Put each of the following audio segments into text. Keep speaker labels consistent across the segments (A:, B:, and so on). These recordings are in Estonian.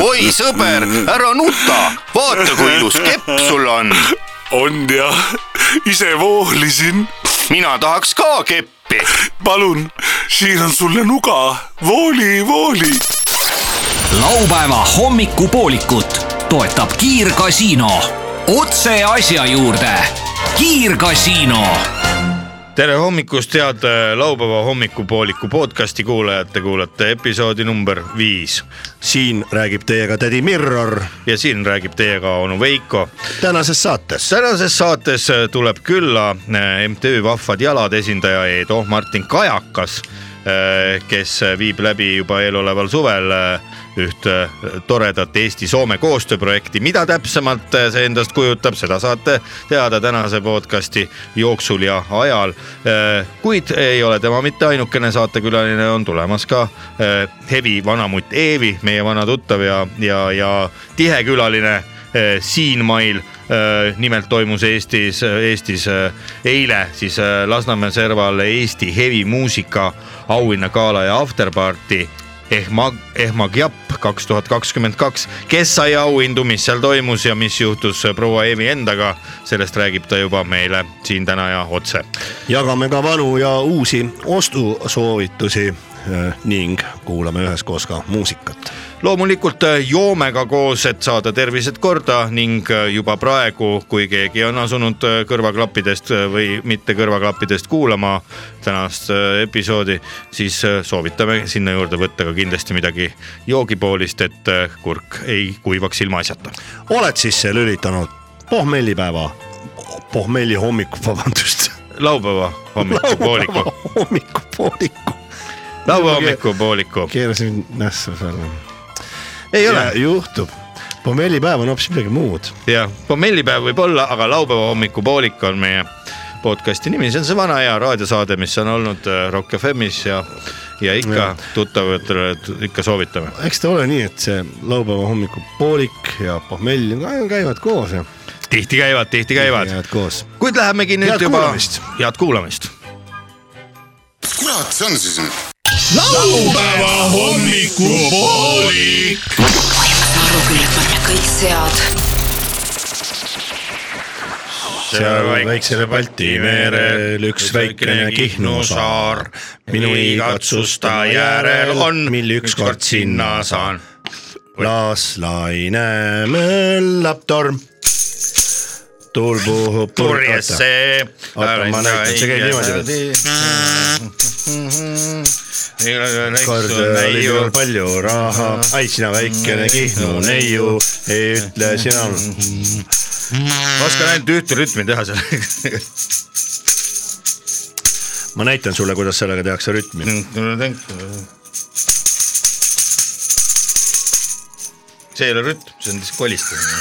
A: oi sõber , ära nuta , vaata kui ilus kepp sul on .
B: on jah , ise voolisin .
A: mina tahaks ka keppi .
B: palun , siin on sulle nuga , vooli , vooli
C: laupäeva hommikupoolikut toetab Kiirgasiino . otse asja juurde . kiirgasiino .
D: tere hommikust , head äh, laupäeva hommikupooliku podcasti kuulajad , te kuulate episoodi number viis
E: siin räägib teiega tädi Mirror
D: ja siin räägib teiega onu Veiko .
E: tänases saates .
D: tänases saates äh, tuleb külla äh, MTÜ Vahvad Jalad esindaja Eedo Martin Kajakas , kes äh, viib läbi juba eeloleval suvel äh, üht äh, toredat Eesti-Soome koostööprojekti , mida täpsemalt äh, see endast kujutab , seda saate teada tänase podcasti jooksul ja ajal . kuid ei ole tema mitte ainukene saatekülaline , on tulemas ka äh, Hevi vanamutt Eevi , meie vana tuttav ja , ja , ja tihe külaline äh, siinmail Äh, nimelt toimus Eestis , Eestis äh, eile siis äh, Lasnamäe serval Eesti hevimuusika auhinnagala ja afterparty ehmag , ehmagjapp kaks tuhat kakskümmend kaks . kes sai auhindu , mis seal toimus ja mis juhtus äh, proua Eevi endaga , sellest räägib ta juba meile siin täna ja otse .
E: jagame ka vanu ja uusi ostusoovitusi eh, ning kuulame üheskoos ka muusikat .
D: loomulikult äh, joome ka koos , et saada tervised korda ning äh, juba praegu , kui keegi on asunud äh, kõrvaklappidest äh, või mitte kõrvaklappidest kuulama tänast äh, episoodi , siis äh, soovitame sinna juurde võtta ka kindlasti midagi joogipoolist , et äh, kurk ei kuivaks ilma asjata .
E: oled sisse lülitanud pohmellipäeva , pohmelli hommik , vabandust ,
D: laupäeva hommikupooliku ,
E: hommikupooliku .
D: laupäeva hommikupooliku ,
E: keerasin nässu selle .
D: Ei ole.
E: juhtub , pohmellipäev on hoopis midagi muud .
D: jah , pommellipäev võib olla , aga laupäeva hommikupoolik on meie podcast'i nimi , see on see vana hea raadiosaade , mis on olnud äh, Rock FM-is ja , ja ikka tuttavatele t- ikka soovitame .
E: eks ta ole nii , et see laupäeva hommikupoolik ja pohmell ka- käivad koos ja
D: tihti käivad , tihti käivad ,
E: käivad koos .
D: kuid lähemegi nüüd
E: Head
D: juba
E: kuulamist. ,
D: head kuulamist .
F: kurat see on siis nüüd ?
G: panna kõik sead
E: seal väiksele Balti merel üks väikene Kihnu saar . minu igatsusta järel on , mil ükskord sinna saan . las laine möllab torm . tuul puhub purjesse .
D: purjesse .
E: Oota, ma näitan, see käib niimoodi kord oli mul palju raha , ai sina väikene Kihnu neiu , ei ütle sina . Äh.
D: oskan ainult ühte rütmi teha seal .
E: ma näitan sulle , kuidas sellega tehakse
D: Mm.
E: rütmi .
D: see ei ole rütm , see on lihtsalt kolistamine .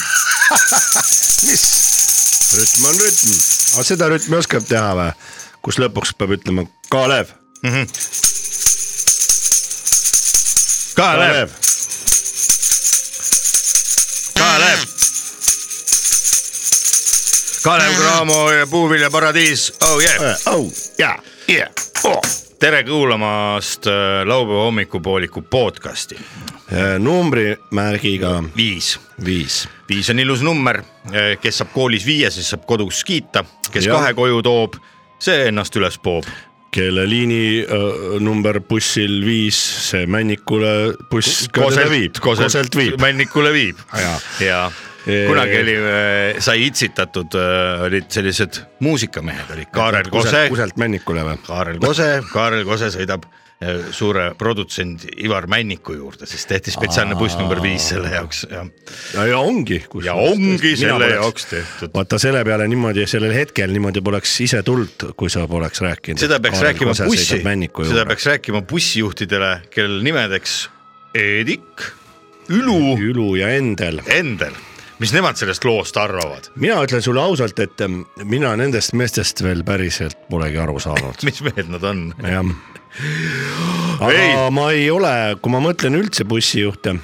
E: rütm on rütm , aga seda rütmi oskab teha või ? kus lõpuks peab ütlema Kalev .
D: Kalev ,
E: Kalev ,
D: Kalev . Kalev
E: Äh.
D: Cramo ja Puuviljaparadiis , oh yeah .
E: au ja , ja .
D: tere kuulamast äh, laupäeva hommikupooliku podcasti ,
E: Äh, numbrimärgiga
D: viis .
E: viis .
D: viis on ilus number , kes saab koolis viie , siis saab kodus kiita , kes
E: Jah.
D: kahe koju toob , see ennast üles poob .
E: kelle liini öö, number bussil viis , see Männikule buss ka teda viib , Koselt viib .
D: Männikule viib
E: Jaa.
D: ja
E: Eee.
D: kunagi oli , sai itsitatud , olid sellised muusikamehed olid Kaarel Kose
E: Kuselt ,, Kuselt Männikule või ?
D: Kaarel Kose , Kaarel Kose sõidab eh, suure produtsent Ivar Männiku juurde , siis tehti spetsiaalne buss number viis selle jaoks ja
E: ja ongi .
D: Ja ongi selle jaoks tehtud.
E: vaata selle peale niimoodi , sellel hetkel niimoodi poleks ise tulnud , kui sa poleks rääkinud .
D: seda peaks rääkima bussi , seda peaks rääkima bussijuhtidele , kellel nimedeks Eedik , Ülu ,
E: Ülu ja Endel
D: Endel , mis nemad sellest loost arvavad ,
E: mina ütlen sulle ausalt , et ähm, mina nendest meestest veel päriselt polegi aru saanud ,
D: mis mehed nad on ?
E: jah . aga ei.
D: Ei.
E: ma ei ole , kui ma mõtlen üldse bussijuhte ,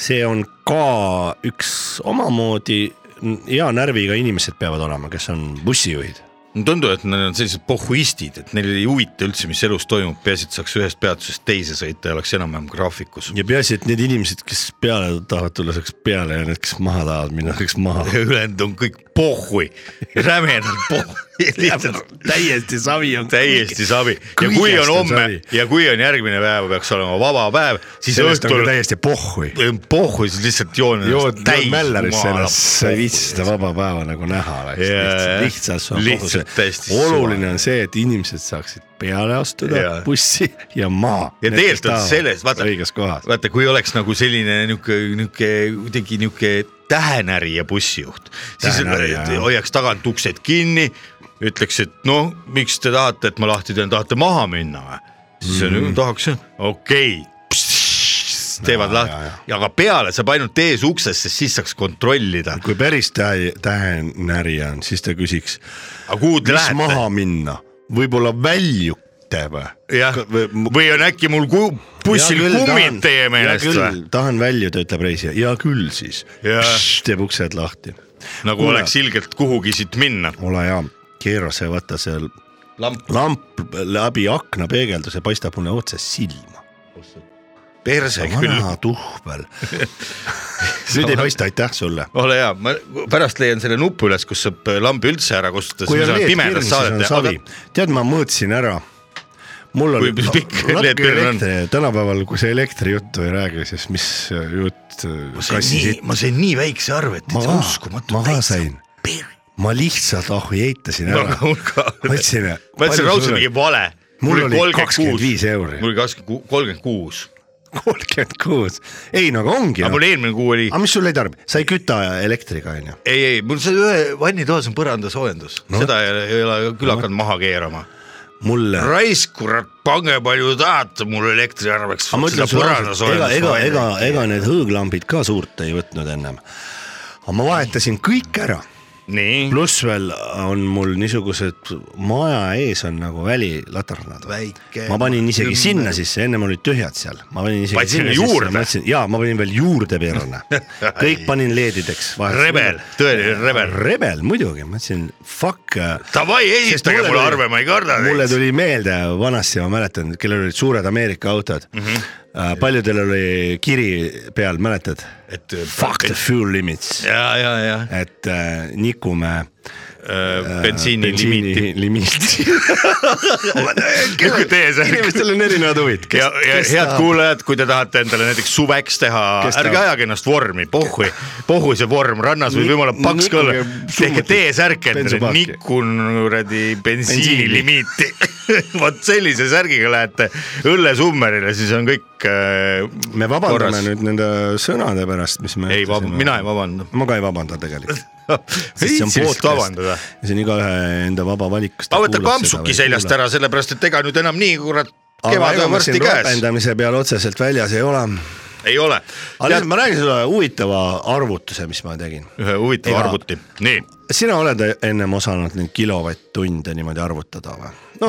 E: see on ka üks omamoodi n- hea närviga inimesed peavad olema , kes on bussijuhid .
D: mulle tundub , et nad on sellised pohhuistid , et neil ei huvita üldse , mis elus toimub , peaasi , et saaks ühest peatusest teise sõita ja oleks enam-vähem graafikus .
E: ja peaasi , et need inimesed , kes peale tahavad tulla , saaks peale ja need , kes maha tahavad minna , saaks maha .
D: ülejäänud on kõik pohhui , rämedalt pohhui , lihtsalt
E: täiesti savi on .
D: täiesti savi ja kui
E: kõigest
D: on
E: on
D: homme
E: savi.
D: ja kui on järgmine päev , peaks olema vaba päev , siis
E: sellest on
D: õhtul
E: ka täiesti pohhui .
D: pohhu , siis lihtsalt joon
E: jood täis mällarisse ennast , sa ei viitsi seda vaba päeva nagu näha .
D: Jaa, jah.
E: lihtsalt ,
D: Lihtsalt täiesti suva.
E: oluline on see , et inimesed saaksid peale
D: Jaa.
E: astuda bussi ja maha .
D: ja tegelikult on selles , vaata ,
E: õiges kohas .
D: vaata , kui oleks nagu selline niuke , niuke kuidagi niuke tähenärija bussijuht , siis
E: Tähenärija, jah.
D: hoiaks tagant uksed kinni , ütleks , et noh , miks te tahate , et ma lahti teen , tahate maha minna või ? siis
E: Mhm.
D: mm. tahaks , okei teevad
E: Jaa, jaa,
D: lahti , aga peale saab ainult ees uksest , sest siis saaks kontrollida .
E: kui päris tähe , tähenärija on , siis ta küsiks ,
D: aga kuhu te
E: mis
D: lähete ?
E: maha minna , võib-olla väljute või ?
D: jah , või on äkki mul ku- bussil kummid teie meelest või ??
E: tahan väljuda , ütleb reisija , hea küll siis
D: Jaa. .
E: teeb uksed lahti ,
D: nagu
E: Kuule.
D: oleks ilgelt kuhugi siit minna .
E: ole hea , keera see , vaata seal
D: lamp
E: lamp läbi akna peegelduse paistab mulle otse silma .
D: perse küll ,
E: vana tuhvel . nüüd ei paista , aitäh sulle .
D: ole hea , ma pärast leian selle nupu üles , kus saab lambi üldse ära kustutada ,
E: kui
D: siis me
E: on
D: saame
E: leed kirni ,
D: pimedas
E: siis on
D: saadet
E: savi
D: teha ..
E: tead , ma mõõtsin ära . mul
D: Kui
E: oli
D: pikk leed kirni on?
E: elekter , tänapäeval , kui sa elektrijuttu ei räägi , siis mis äh, jutt kassi siit .
D: ma sain nii väikse arve , et
E: ma ka , ma ka sain . ma lihtsalt ahjeitasin ära .
D: ma
E: mõtlesin ,
D: Nagu
E: äh,
D: ma ütlesin raudselt mingi vale .
E: Mul oli 26 euri.
D: mul oli kakskümmend , kolmkümmend kuus ,
E: kolmkümmend kuus . ei no aga ongi .
D: aga mul eelmine kuu oli ,
E: aga mis sul ei tarbi , sa ei küta elektriga onju .
D: ei , ei mul see ühe vannitoas on põrandasoojendus no. , seda ei, ei ole küll hakanud maha keerama .
E: mul .
D: raisk , kurat , pange palju tahate mul elektriarveks .
E: aga ma ütlen sulle ausalt , ega , ega , ega , ega need hõõglambid ka suurt ei võtnud ennem . aga ma vahetasin kõik ära ,
D: nii ,
E: pluss veel on mul niisugused maja ees on nagu välilaternad .
D: Väike-
E: ma panin isegi sinna sisse , ennem olid tühjad seal , ma panin isegi
D: Panid sinna juurde?
E: sisse , ja ma panin veel juurde peale , kõik panin leedideks .
D: rebel , tõeline rebel .
E: rebel muidugi , ma mõtlesin fuck äh,
D: Davai ,
E: Sest
D: esitage mulle
E: tuli-
D: arve , ma ei karda
E: mulle
D: teid .
E: tuli meelde vanasti , ma mäletan , kellel olid suured Ameerika autod mm .
D: Mhm.
E: -hmm. paljudel oli kiri peal , mäletad ?
D: Et-
E: fuck the fuel limits ,
D: ja , ja , ja
E: et äh, nikume
D: äh, bensiini limiiti .
E: bensiini limiiti . Nagu
D: Niisugune tees-
E: inimestel on erinevad huvid .
D: ja , ja head kuulajad , kui te tahate endale näiteks suveks teha ,
E: Kes
D: ärge
E: tahab?
D: ajage ennast vormi , pohhui , pohhui see vorm , rannas võib
E: Ni-
D: jumala paks ka olla
E: nikkuge .
D: tehke
E: summutit.
D: T-särk endale ,
E: Bensupaaki.
D: nikun kuradi bensiini
E: Bensiini.
D: limiiti . vot sellise särgiga lähete õllesummerile , siis on kõik äh,
E: me vabandame
D: korras.
E: nüüd nende sõnade pärast , mis me .
D: ei vab- , mina ei . vabanda .
E: ma ka ei vabanda tegelikult .
D: ei , siis vabandada .
E: see on igaühe enda vaba valik .
D: aga võta kampsuki seljast ära , sellepärast et ega nüüd enam nii kurat ,
E: aga
D: kevad
E: ega
D: on
E: ma
D: varsti
E: siin
D: käes ,
E: ropendamise peal otseselt väljas ei ole .
D: ei ole .
E: aga lihtsalt ma räägin sulle huvitava arvutuse , mis ma tegin .
D: ühe huvitava
E: Ega-
D: arvuti , nii
E: sina oled ennem osanud neid kilovatt-tunde niimoodi arvutada või ? no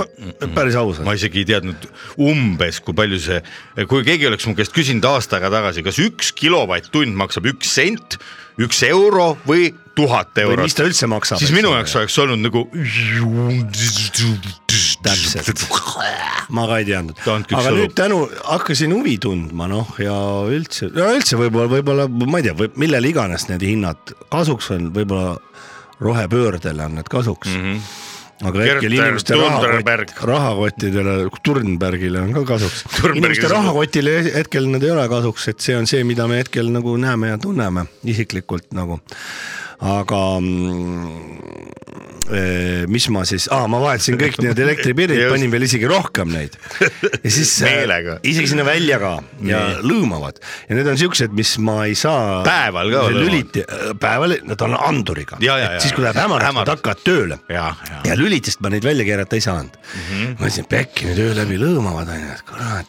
E: päris
D: ma
E: ausalt .
D: isegi ei teadnud umbes , kui palju see , kui keegi oleks mu käest küsinud aasta aega tagasi , kas üks kilovatt-tund maksab üks sent , üks euro või tuhat
E: või mis ta
D: eurot ,
E: üldse maksab .
D: siis minu jaoks oleks olnud nagu .
E: täpselt , ma ka ei teadnud ,
D: Andke üks
E: aga
D: sõnum.
E: nüüd tänu , hakkasin huvi tundma noh , ja üldse , no üldse võib-olla , võib-olla ma ei tea , millele iganes need hinnad kasuks on , võib-olla rohepöördele on need kasuks mm . -hmm aga
D: Mhm. Gerter
E: äkki inimeste
D: Thunderberg.
E: rahakott , rahakottidele , Turnbergile on ka kasuks .
D: Thunderbergi
E: inimeste
D: sõnum.
E: rahakotile hetkel nad ei ole kasuks , et see on see , mida me hetkel nagu näeme ja tunneme isiklikult nagu . aga mm, Eh, mis ma siis ah, , ma vahetasin kõik need elektripiirid ,
D: Just.
E: panin veel isegi rohkem neid . ja siis äh,
D: Meelega.
E: isegi sinna välja ka ja
D: Nii.
E: lõõmavad ja need on siuksed , mis ma ei saa .
D: Päeval ka lõõmavad.
E: lüliti , päeval , nad on anduriga .
D: Ja, ja, ja.
E: siis kui läheb hämaraks ,
D: Hämaraks.
E: nad hakkavad tööle .
D: Jah, jah.
E: ja lülitist ma neid välja keerata ei saanud mm . -hmm.
D: Mhm.
E: ma mõtlesin , pekki need öö läbi lõõmavad onju , et kurat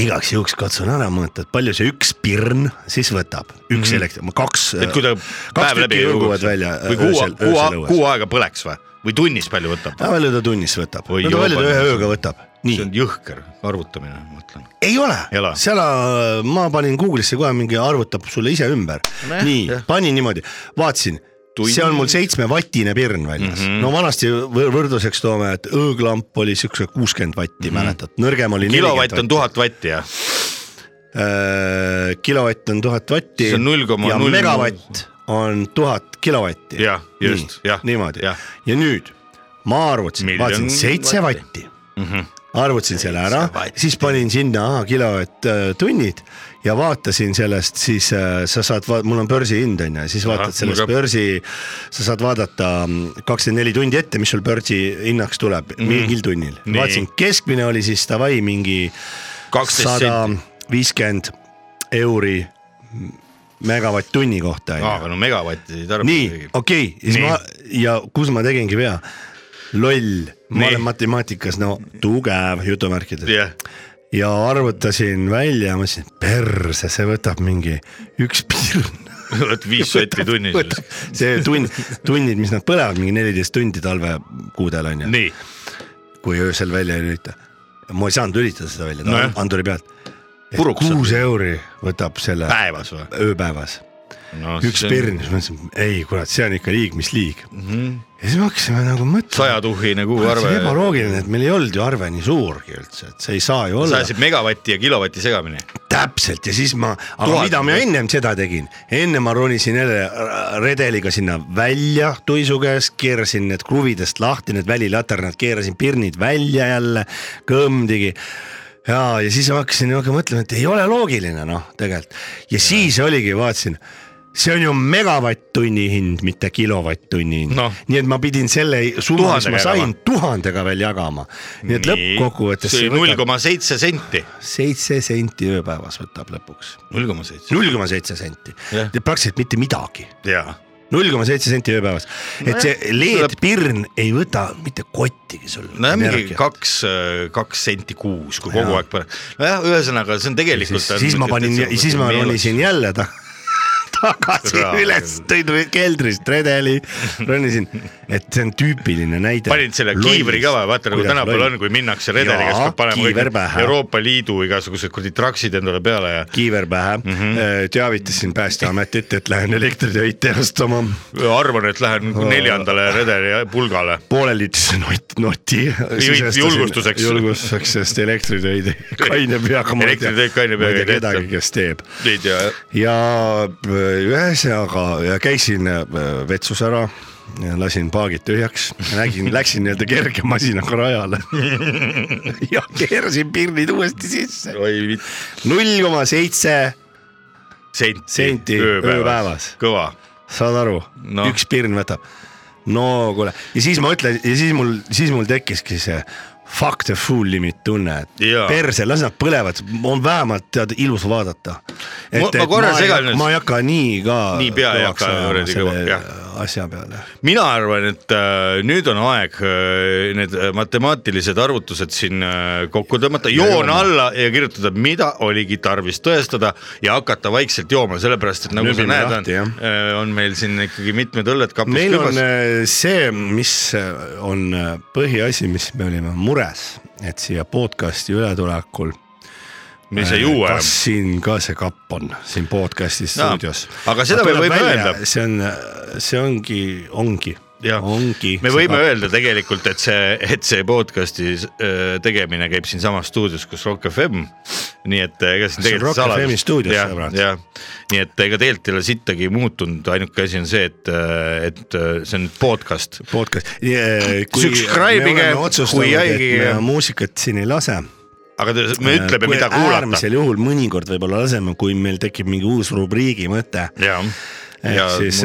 E: igaks juhuks katsun ära mõõta , et palju see üks pirn siis võtab , üks mm -hmm. elektri , kaks .
D: Mhm. et kui ta
E: kaks
D: päev läbi
E: tükki jõuavad välja . äh,
D: või kuu , kuu , kuu aega põleks või , või tunnis palju võtab ?
E: ja palju ta tunnis võtab ?
D: Oi,
E: no ta palju ta
D: jooba.
E: ühe ööga võtab ?
D: see
E: nii
D: on , jõhker arvutamine , ma ütlen .
E: ei
D: Ei
E: ole
D: ole. ,
E: seal äh, ma panin Google'isse kohe mingi arvutab sulle ise ümber . nii , panin niimoodi , vaatasin
D: tund .
E: see on mul seitsmevatine pirn väljas
D: Mhm.
E: mm , -hmm. no vanasti võr- võrdluseks toome , et õõglamp oli siukse kuuskümmend vatti mm , -hmm. mäletad , nõrgem oli .
D: Mhm. kilovatt on . tuhat vatti jah ?
E: Äh, kilovatt on tuhat vatti .
D: See on 0,0
E: ja megavatt on tuhat kilovatti .
D: Jah, just, jah,
E: niimoodi
D: jah.
E: ja nüüd ma arvutasin ,
D: Miljon
E: vaatasin seitse
D: vatti. Mhm.
E: vatti mm . -hmm arvutasin selle ära , siis panin sinna aha, kilovatt-tunnid ja vaatasin sellest siis äh, sa saad , mul on börsihind on ju , siis vaatad
D: Ahah,
E: sellest
D: mul ka.
E: börsi , sa saad vaadata mm, kakskümmend neli tundi ette , mis sul börsihinnaks tuleb mm. , mingil tunnil .
D: Mhm. Nii.
E: vaatasin , keskmine oli siis davai mingi
D: 12
E: sada
D: senti.
E: viiskümmend euri megavatt-tunni kohta on ju
D: aga no megavatti ei tarbi .
E: nii , okei , siis
D: Ah, Nii.
E: ma ja kus ma tegingi vea , loll , ma
D: Nii.
E: olen matemaatikas no tugev jutumärkides
D: jah ,
E: ja arvutasin välja , ma ütlesin , perse , see võtab mingi üks pirn .
D: oled viis sotti tunnis .
E: see tund , tunnid , mis nad põlevad , mingi neliteist tundi talvekuudel on ju ,
D: nii ,
E: kui öösel välja ei lülita . ma ei saanud lülitada seda välja
D: Nojah.
E: no, , anduri pealt .
D: Puruks saab. Ah,
E: kuus euri võtab selle
D: päevas või ?
E: ööpäevas
D: No,
E: üks pirn , siis ma mõtlesin , ei kurat , see on ikka liig , mis liig mm . -hmm. ja siis me hakkasime nagu mõtlema ,
D: sajatuhine
E: see on
D: kuuarve .
E: ebaloogiline , et meil ei olnud ju arve nii suurgi üldse , et see ei saa ju
D: sa
E: olla
D: ajasid megavatti ja kilovatti segamini .
E: täpselt ja siis ma , aga
D: Tuhat-
E: Tuhat. mida ma ennem seda tegin , enne ma ronisin jälle äh, redeliga sinna välja tuisu käes , keerasin need kruvidest lahti , need välilaternad , keerasin pirnid välja jälle , kõmdigi ja , ja siis ma hakkasin nihuke mõtlema , et ei ole loogiline noh , tegelikult ja siis oligi , vaatasin , see on ju megavatt-tunni hind , mitte kilovatt-tunni hind
D: Noh.
E: no. . nii et ma pidin selle summa , mis
D: Tuhandega
E: ma sain
D: jagama. ,
E: tuhandega veel jagama . nii et lõppkokkuvõttes
D: see
E: see
D: oli null
E: võtab
D: koma seitse senti .
E: seitse senti ööpäevas võtab lõpuks
D: null koma seitse .
E: null koma seitse senti
D: Jah. ,
E: praktiliselt mitte midagi ,
D: jaa .
E: null koma seitse senti ööpäevas , et see LED-pirn ei võta mitte kottigi sul .
D: nojah , mingi kaks , kaks senti kuus , kui kogu
E: Jaa.
D: aeg paned . nojah , ühesõnaga see on tegelikult .
E: siis, siis ma panin , siis ma ronisin jälle ta- , tagasi
D: Jaa.
E: üles , tõin re- keldrist redeli , ronisin , et see on tüüpiline näide .
D: panin selle kiivri ka või , vaata nagu tänapäeval on , kui minnakse redeliga , siis peab panema
E: kiiver
D: kõik
E: pähe ,
D: Euroopa Liidu igasugused kuradi traksid endale peale ja
E: kiiver pähe
D: Mhm.
E: mm , -hmm. teavitasin Päästeametit , et lähen elektritöid teostama
D: arvan , et lähen neljandale redeli pulgale .
E: pooleli ütlesin not, noti .
D: julgustuseks.
E: julgustuseks , sest elektritöid ei- kaine peaga .
D: Elektritöid kaine peaga ei
E: ei
D: tehta.
E: tehta . kedagi , kes teeb
D: ei tea ,
E: ja äh, ühesõnaga ja käisin äh, vetsus ära , lasin paagid tühjaks , nägin , läksin nii-öelda kerge masinaga rajale ja keerasin pirnid uuesti sisse .
D: oi vitt ,
E: null koma seitse ,
D: senti,
E: Senti ööpäevas.
D: kõva .
E: saad aru
D: No.
E: no. , üks pirn võtab . no kuule , ja siis ma ütlen ja siis mul , siis mul tekkiski see fuck the fool limit tunne , et
D: Jaa.
E: perse , las nad põlevad , on vähemalt tead ilus vaadata .
D: Ma- ma korra segan nüüd.
E: ma ei hakka nii ka .
D: Nii pea ei hakka kuradi kõva- jah.
E: asja peale .
D: mina arvan , et äh, nüüd on aeg äh, need matemaatilised arvutused siin äh, kokku tõmmata , joon alla ja kirjutada , mida oligi tarvis tõestada ja hakata vaikselt jooma , sellepärast et nagu sa
E: Nööbime
D: näed
E: lahti, ,
D: on, äh, on meil siin ikkagi mitmed õlled kapis
E: meil on
D: kübas .
E: äh, see , mis äh, on äh, põhiasi , mis me olime mures , et siia podcast'i ületulekul .
D: mis ei juua
E: kas
D: enam .
E: siin ka see kapp on siin podcast'i stuudios ?
D: aga seda me võime öelda.
E: see on , see ongi , ongi ,
D: Jah.
E: ongi .
D: me võime öelda tegelikult , et see , et see podcast'i äh, tegemine käib siinsamas stuudios , kus Rock FM . nii et äh, ega siin
E: See on
D: tegelikult
E: Rock FM-i stuudios, sõbrad.
D: jah , nii et ega tegelikult ei ole sittagi muutunud , ainuke asi on see , et , et äh, see on nüüd podcast .
E: podcast . Äh,
D: Subscribe'ige, kui jälgige.
E: muusikat siin ei lase
D: aga te, me
E: Äh,
D: ütleme , mida kuulata .
E: äärmisel juhul mõnikord võib-olla laseme , kui meil tekib mingi uus rubriigi mõte .
D: ja , ja
E: ehk siis ,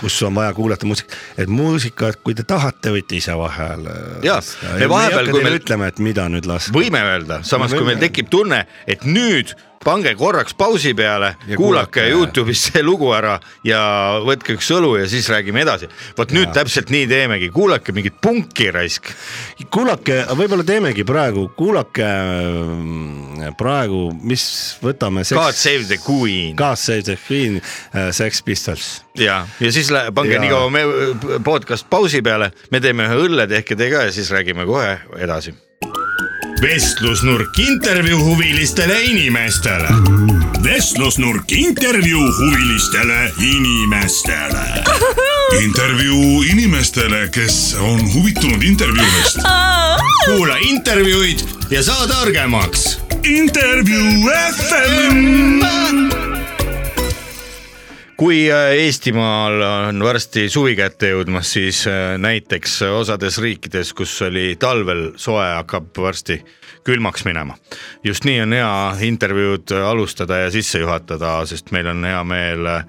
E: kus on vaja kuulata muusikat , et muusikat , kui te tahate , võite ise vahel . äh,
D: Jaa, me vahepeal, kui
E: me
D: meil-
E: ütleme , et mida nüüd lasta .
D: võime öelda , samas
E: Me
D: kui meil
E: võime.
D: tekib tunne , et nüüd pange korraks pausi peale ,
E: Ja
D: kuulake
E: kuulake.
D: Youtube'is see lugu ära ja võtke üks õlu ja siis räägime edasi . vot nüüd täpselt nii teemegi , kuulake mingit punki raisk .
E: kuulake , võib-olla teemegi praegu , kuulake mm, praegu , mis võtame .
D: God save the queen
E: God Save the Queen , Sex Pistols .
D: ja , ja siis lä- pange
E: Ja.
D: nii kaua me podcast pausi peale , me teeme ühe õlle , tehke te ka ja siis räägime kohe edasi .
H: vestlusnurk intervjuu huvilistele inimestele . vestlusnurk intervjuu huvilistele inimestele .
B: intervjuu inimestele , kes on huvitunud intervjuudest .
H: kuula intervjuud ja saa targemaks .
B: intervjuu FM .
D: kui äh, Eestimaal on varsti suvi kätte jõudmas , siis äh, näiteks osades riikides , kus oli talvel soe , hakkab varsti külmaks minema . just nii on hea intervjuud alustada ja sisse juhatada , sest meil on hea meel äh,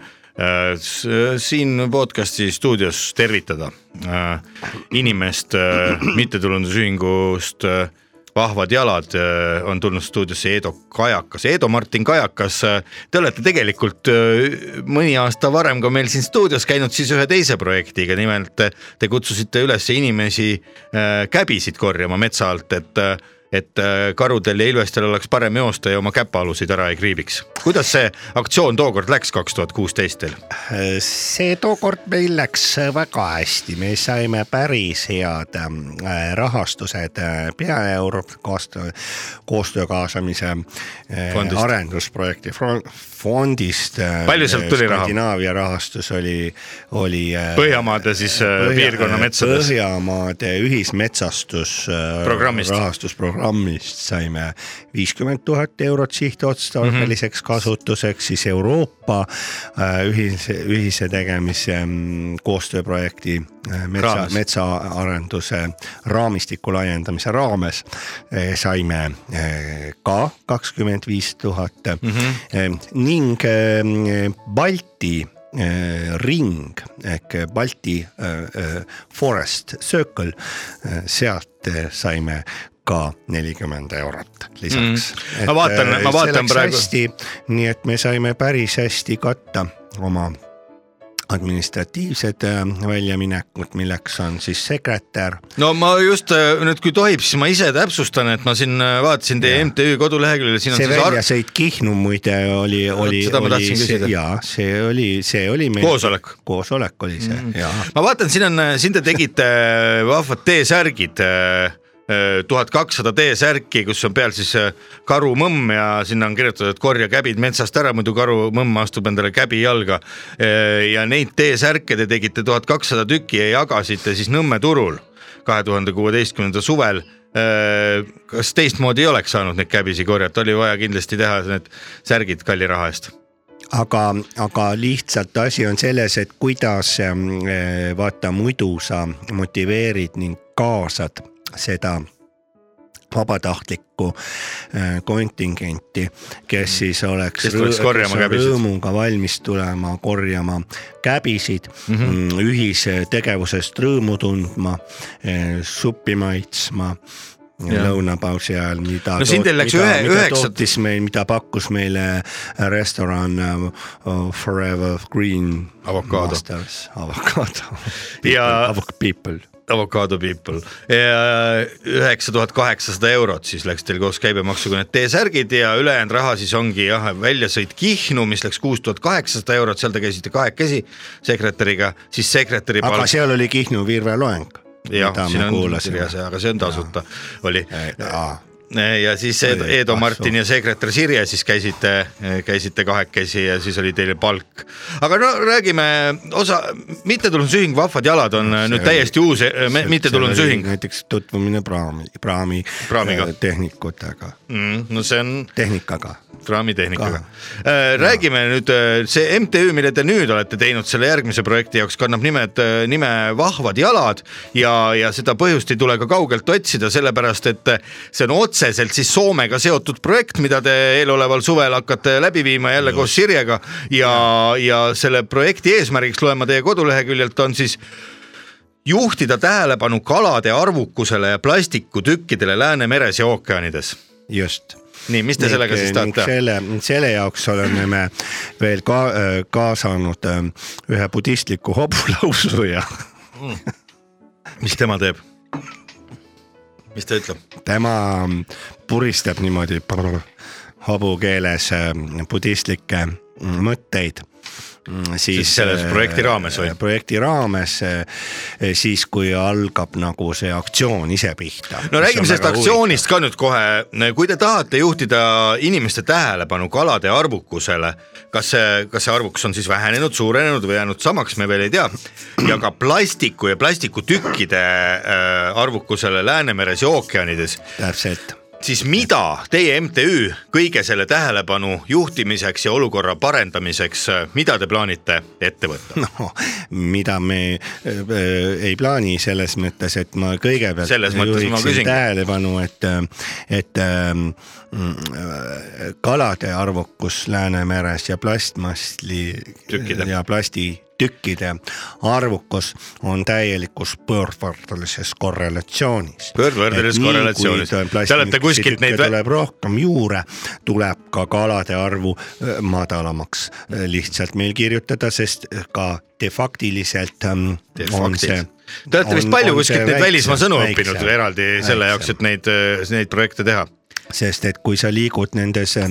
D: s- siin podcast'i stuudios tervitada äh, inimest äh, mittetulundusühingust äh, vahvad jalad öö, on tulnud stuudiosse Eedo Kajakas , Eedo Martin Kajakas , te olete tegelikult öö, mõni aasta varem ka meil siin stuudios käinud siis ühe teise projektiga , nimelt öö, te kutsusite üles inimesi öö, käbisid korjama metsa alt , et , et öö, karudel ja ilvestel oleks parem joosta ja oma käpaalusid ära ei kriibiks . kuidas see aktsioon tookord läks , kaks tuhat kuusteist teil ?
E: Äh, see tookord meil läks väga hästi , me saime päris head ähm, rahastused äh, peaeuro koostöö , koostöö kaasamise äh,
D: Fondist.
E: arendusprojekti fron- fondist .
D: Palju sealt tuli raha?
E: Skandinaavia rahastus oli , oli äh,
D: Põhjamaade siis öö, äh, piirkonna metsades .
E: Põhjamaade ühismetsastus äh,
D: Programmist.
E: rahastusprogrammist saime viiskümmend tuhat eurot sihtotstarbeliseks mm
D: Mhm.
E: -hmm. kasutuseks , siis Euroopa äh, ühise , ühise tegemise mm, koostööprojekti äh, metsa
D: Raames. ,
E: metsaarenduse raamistiku laiendamise raames äh, saime äh, ka kakskümmend viis tuhat
D: Mhm.
E: Eh, ning äh, Balti äh, ring ehk Balti äh, äh, Forest Circle , sealt äh, saime ka nelikümmend eurot lisaks
D: Mhm.
E: eh,
D: Ma vaatan- ma vaatan praegu-
E: hästi , nii et me saime päris hästi katta oma administratiivsed äh, väljaminekud , milleks on siis sekretär .
D: no ma just äh, nüüd , kui tohib , siis ma ise täpsustan , et ma siin äh, vaatasin teie MTÜ koduleheküljel , siin on
E: see
D: siis ar-
E: väljasõit Kihnu muide oli , oli ,
D: seda ma tahtsin küsida.
E: oli , jaa , see oli , see oli meil
D: koosolek .
E: koosolek oli see mm. , jaa .
D: ma vaatan , siin on , siin te tegite äh, vahvad T-särgid , tuhat kakssada T-särki , kus on peal siis äh, karumõmm ja sinna on kirjutatud , et korja käbid metsast ära , muidu karumõmm astub endale käbi jalga . ja neid T-särke te tegite tuhat kakssada tükki ja jagasite siis Nõmme turul kahe tuhande kuueteistkümnenda suvel . kas teistmoodi ei oleks saanud neid käbisi korjata , oli vaja kindlasti teha need särgid kalli raha eest ?
E: aga , aga lihtsalt asi on selles , et kuidas ähm, äh, vaata muidu sa motiveerid ning kaasad seda vabatahtlikku äh, kontingenti , kes siis oleks
D: Mm. Kes tuleks
E: rõõ-
D: korjama
E: kes on
D: käbisid.
E: rõõmuga valmis tulema korjama käbisid
D: Mhm.
E: mm , -hmm. ühise tegevusest rõõmu tundma , suppi maitsma
D: Jah.
E: lõunapausi ajal , mida
D: No siin teil läks
E: mida,
D: ühe-
E: mida
D: üheksa-
E: tootis meil , mida pakkus meile restoran äh, äh, Forever Green .
D: Avocado.
E: Masters , avokaado .
D: Ja-
E: People .
D: Avocado people , üheksa tuhat kaheksasada eurot siis läks teil koos käibemaksuga need T-särgid ja ülejäänud raha siis ongi jah , väljasõit Kihnu , mis läks kuus tuhat kaheksasada eurot , seal te käisite kahekesi sekretäriga , siis sekretäri
E: aga
D: palk
E: seal oli Kihnu Virve loeng ,
D: jah
E: mida ,
D: siin
E: me
D: on
E: kuulasime Äh,
D: kirjas . Äh, aga see on tasuta oli
E: jaa ,
D: ja siis Eedo,
E: Oli
D: Eedo
E: kasu.
D: Martin ja sekretär Sirje siis käisite , käisite kahekesi ja siis oli teile palk . aga no räägime osa , mittetulundusühing Vahvad jalad on nüüd
E: oli-
D: täiesti uus eh, me- mittetulundusühing .
E: näiteks tutvumine praami , praami
D: Praamiga.
E: äh, tehnikutega ,
D: Mm, no see on
E: tehnikaga
D: kraamitehnika . räägime nüüd , see MTÜ , mille te nüüd olete teinud selle järgmise projekti jaoks , kannab nimed , nime Vahvad jalad ja , ja seda põhjust ei tule ka kaugelt otsida , sellepärast et äh, see on otseselt siis Soomega seotud projekt , mida te eeloleval suvel hakkate läbi viima jälle koos Sirjega ja , ja selle projekti eesmärgiks loen ma teie koduleheküljelt on siis juhtida tähelepanu kalade arvukusele ja plastikutükkidele Läänemeres ja ookeanides .
E: just äh,
D: nii , mis te sellega siis tahate ?
E: selle , selle jaoks oleme me veel ka äh, kaasanud äh, ühe budistliku hobulausuja .
D: mis tema teeb ? mis ta ütleb ?
E: tema puristab niimoodi hobukeeles äh, budistlikke mm, mõtteid siis äh,
D: Siis selles projekti raames või?
E: projekti raames eh, siis , kui algab nagu see aktsioon ise pihta .
D: no räägime sellest aktsioonist ka nüüd kohe , kui te tahate juhtida inimeste tähelepanu kalade arvukusele , kas see , kas see arvukus on siis vähenenud , suurenenud või jäänud samaks , me veel ei tea . ja ka plastiku ja plastikutükkide äh, arvukusele Läänemeres ja ookeanides ,
E: täpselt
D: siis mida teie MTÜ kõige selle tähelepanu juhtimiseks ja olukorra parendamiseks , mida te plaanite ette võtta ?
E: no, , mida me öö, ei plaani selles mõttes , et ma kõigepealt
D: Selles mõttes ma
E: juhiksin
D: küsingi.
E: tähelepanu , et , et ähm, mm, kalade arvukus Läänemeres ja plastmasli
D: Tükkide.
E: ja plastitükkide arvukus on täielikus pöördvõrdelises korrelatsioonis .
D: Pöördvõrdelises
E: Et nii,
D: korrelatsioonis.
E: kui ta-
D: Te olete kuskilt neid vä-
E: plastitükke tuleb rohkem juurde , tuleb ka kalade arvu öö, madalamaks öö, lihtsalt meil kirjutada , sest äh, ka defaktiliselt ähm,
D: De
E: on
D: facto.
E: see .
D: Te olete vist palju kuskilt neid välismaa sõnu õppinud eraldi selle jaoks , et neid , neid projekte teha
E: sest et kui sa liigud nendes äh,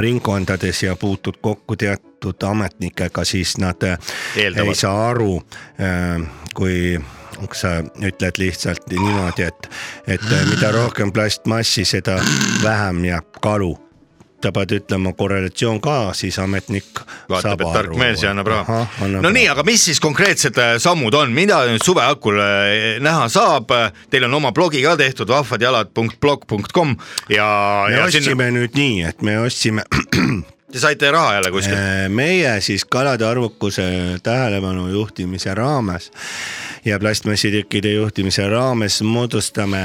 E: ringkondades ja puutud kokku teatud ametnikega , siis nad äh,
D: Eeldavad.
E: ei saa aru , kui kui sa ütled lihtsalt niimoodi , et , et äh, mida rohkem plastmassi , seda vähem jääb kalu sa pead ütlema korrelatsioon ka , siis ametnik
D: vaatab ,
E: saab
D: et tark
E: aru.
D: mees ja annab raha
E: Ahah, . annab
D: no nii ,
E: raha.
D: aga mis siis konkreetsed äh, sammud on , mida nüüd suve akul äh, näha saab ? Teil on oma blogi ka tehtud vahvadjalad.blog.com ja ,
E: me
D: ja
E: ostsime
D: sinna
E: nüüd nii , et me ostsime
D: te saite raha jälle
E: Äh,
D: kuskilt .
E: meie siis kalade arvukuse tähelepanu juhtimise raames ja plastmassitükkide juhtimise raames moodustame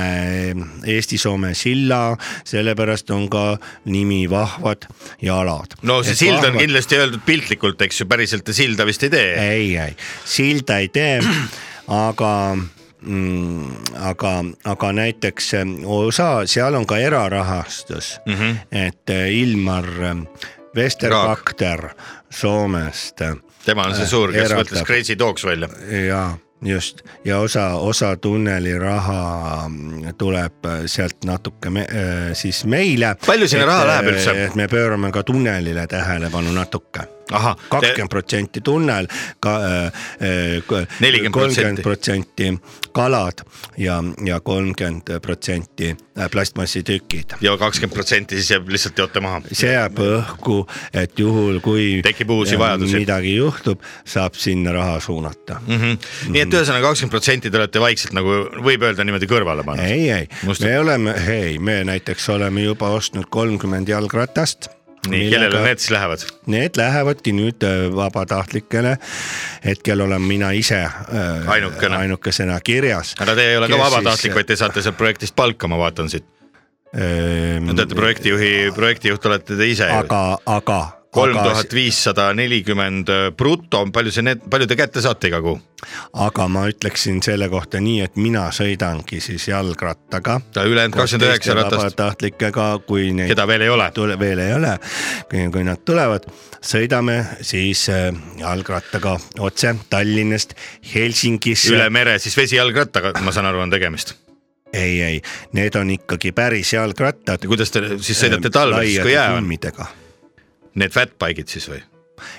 E: Eesti-Soome silla , sellepärast on ka nimi Vahvad jalad .
D: no see sild on . kindlasti öeldud piltlikult , eks ju , päriselt te silda vist ei tee .
E: ei , ei , silda ei tee , aga Mm, aga , aga näiteks eh, osa , seal on ka erarahastus mm ,
D: Mhm.
E: -hmm. et eh, Ilmar eh, Vesterbakter Soomest eh,
D: tema on see suur , kes
E: Eraldab.
D: mõtles Crazy Dogs välja .
E: ja just ja osa , osa tunneli raha mm, tuleb äh, sealt natuke me, äh, siis meile .
D: Palju sinna raha läheb üldse?
E: et me pöörame ka tunnelile tähelepanu natuke .
D: Ahah, te-
E: kakskümmend protsenti tunnel , ka äh, kolmkümmend
D: 40%.
E: protsenti kalad ja , ja kolmkümmend protsenti äh, plastmassitükid
D: ja kakskümmend protsenti siis jääb lihtsalt joote maha .
E: see jääb õhku , et juhul , kui äh,
D: Tekib uusi vajadusi.
E: midagi juhtub , saab sinna raha suunata mm .
D: Mm -hmm. nii et ühesõnaga kakskümmend protsenti te olete vaikselt nagu võib öelda niimoodi kõrvale pannud .
E: ei , ei ,
D: Must-
E: me oleme , ei , me näiteks oleme juba ostnud kolmkümmend jalgratast .
D: nii , kellele need ? siis lähevad ?
E: Need lähevadki nüüd äh, vabatahtlikele . hetkel olen mina ise äh,
D: Ainukene.
E: ainukesena kirjas .
D: aga te ei ole ka vabatahtlik , vaid te saate sealt projektist palka , ma vaatan siit . no te olete
E: ähm, .
D: projektijuhi , projektijuht olete te ise ju .
E: aga , aga .
D: kolm tuhat viissada nelikümmend bruto , palju see net , palju te kätte saate iga kuu ?
E: aga ma ütleksin selle kohta nii , et mina sõidangi siis jalgrattaga .
D: Ta ülejäänud 29 ratast.
E: vabatahtlikega , kui neid
D: keda veel ei ole ?
E: tule , veel ei ole , kui nad tulevad , sõidame siis äh, jalgrattaga otse Tallinnast Helsingisse .
D: üle mere siis vesijalgrattaga , ma saan aru , on tegemist .
E: ei , ei , need on ikkagi päris jalgrattad .
D: kuidas te siis sõidate talvel , siis kui jää on ?
E: on ?
D: Need fatbike'id siis või ?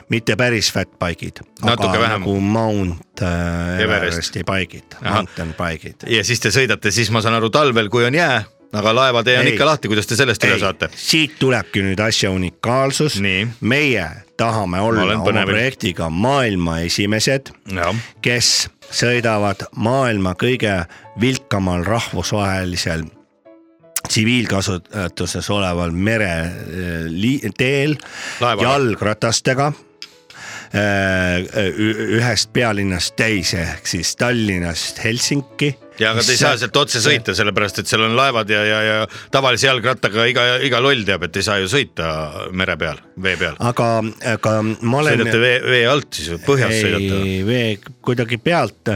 E: mitte päris fatbike'id ,
D: Natuke
E: aga
D: vähem.
E: nagu Mount äh,
D: Everest.
E: Everesti bike'id ,
D: Ahah.
E: mountain bike'id .
D: ja siis te sõidate siis , ma saan aru , talvel , kui on jää , aga laevatee on
E: Ei.
D: ikka lahti , kuidas te sellest üle
E: Ei,
D: saate ?
E: siit tulebki nüüd asja unikaalsus
D: Nii. .
E: meie tahame olla
D: olen
E: oma
D: põnevil.
E: projektiga maailma esimesed ,
D: jah ,
E: kes sõidavad maailma kõige vilkamal rahvusvahelisel tsiviilkasutuses oleval mereteel
D: Laevaga.
E: jalgratastega äh, ü- ühest pealinnast teise ehk siis Tallinnast Helsinki .
D: ja aga te ei saa sealt otse sõita , sellepärast et seal on laevad ja , ja , ja tavalise jalgrattaga iga , iga loll teab , et ei saa ju sõita mere peal , vee peal .
E: aga , aga ma olen .
D: sõidate vee , vee alt siis või põhjas sõidate või ?
E: ei , vee kuidagi pealt ,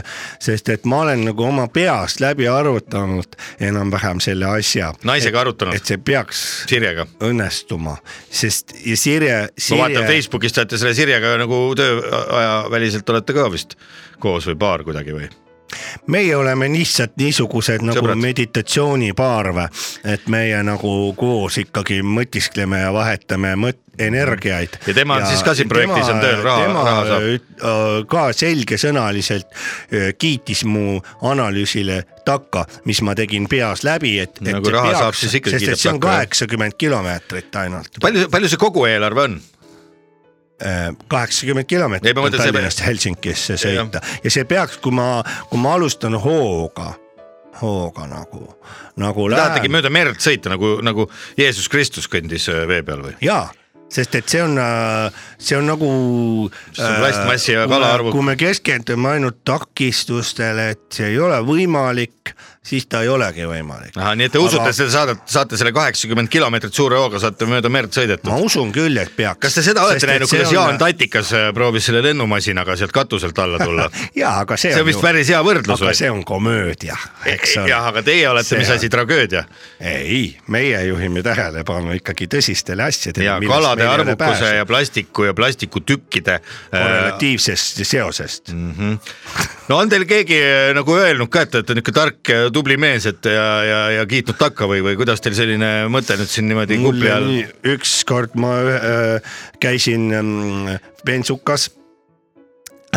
E: sest et ma olen nagu oma peast läbi arvutanud enam-vähem selle asja .
D: naisega arutanud
E: et , see peaks
D: Sirjega .
E: õnnestuma , sest ja Sirje ,
D: ma vaatan
E: Sirje ,
D: Facebookist olete selle Sirjega nagu tööaja väliselt olete ka vist koos või paar kuidagi või ?
E: meie oleme lihtsalt niisugused nagu
D: Sõbrad.
E: Sõbrad. meditatsioonipaarve , et meie nagu koos ikkagi mõtiskleme ja vahetame mõt- , energiaid .
D: Ja tema on siis ka siin projektis, on tööl, raha- raha saab.
E: saab . äh, ka selgesõnaliselt öö, kiitis mu analüüsile takka , mis ma tegin peas läbi , et .
D: No kui Nagu raha saab, siis ikka
E: sest
D: kiidab
E: et see on
D: takka, jah.
E: kaheksakümmend kilomeetrit ainult ,
D: palju , palju see kogu eelarve on ?
E: kaheksakümmend
D: Ei,
E: kilomeetrit
D: ma
E: on
D: mõtlen, see-
E: Tallinnast Helsingisse
D: Jah.
E: sõita ja see peaks , kui ma , kui ma alustan hooga , hooga nagu , nagu
D: tahetegi
E: lähen
D: mööda merd sõita nagu , nagu Jeesus Kristus kõndis öö, vee peal või ?
E: ja sest et see on , see on nagu .
D: See on plastmassi ja kalaarvuk.
E: kui me keskendume ainult takistustele , et see ei ole võimalik , siis ta ei olegi võimalik .
D: ahah , nii et te usute , et te saadate , saate selle kaheksakümmend kilomeetrit suure hooga , saate mööda merd sõidetud
E: ma . usun küll , et peaks .
D: kas te seda olete näinud , kuidas Jaan ? Tatikas öö, proovis selle lennumasinaga sealt katuselt alla tulla ?
E: jaa , aga see,
D: see on vist päris hea võrdlus
E: aga
D: või ?
E: see on komöödia , eks ole .
D: jah , aga teie olete ,
E: See
D: mis
E: on-
D: asi , tragöödia
E: ei , meie juhime tähelepanu ikkagi tõsistele asjadele .
D: ja kalade arvukuse ja plastiku ja plastikutükkide .
E: korrelatiivsest
D: äh,
E: seosest .
D: no on teil keegi äh, nagu öelnud ka , et te olete niisugune tark ja tubli mees , et ja , ja , ja kiitnud takka või , või kuidas teil selline mõte nüüd siin niimoodi kupli all ?
E: ükskord ma äh, käisin ähm, bensukas ,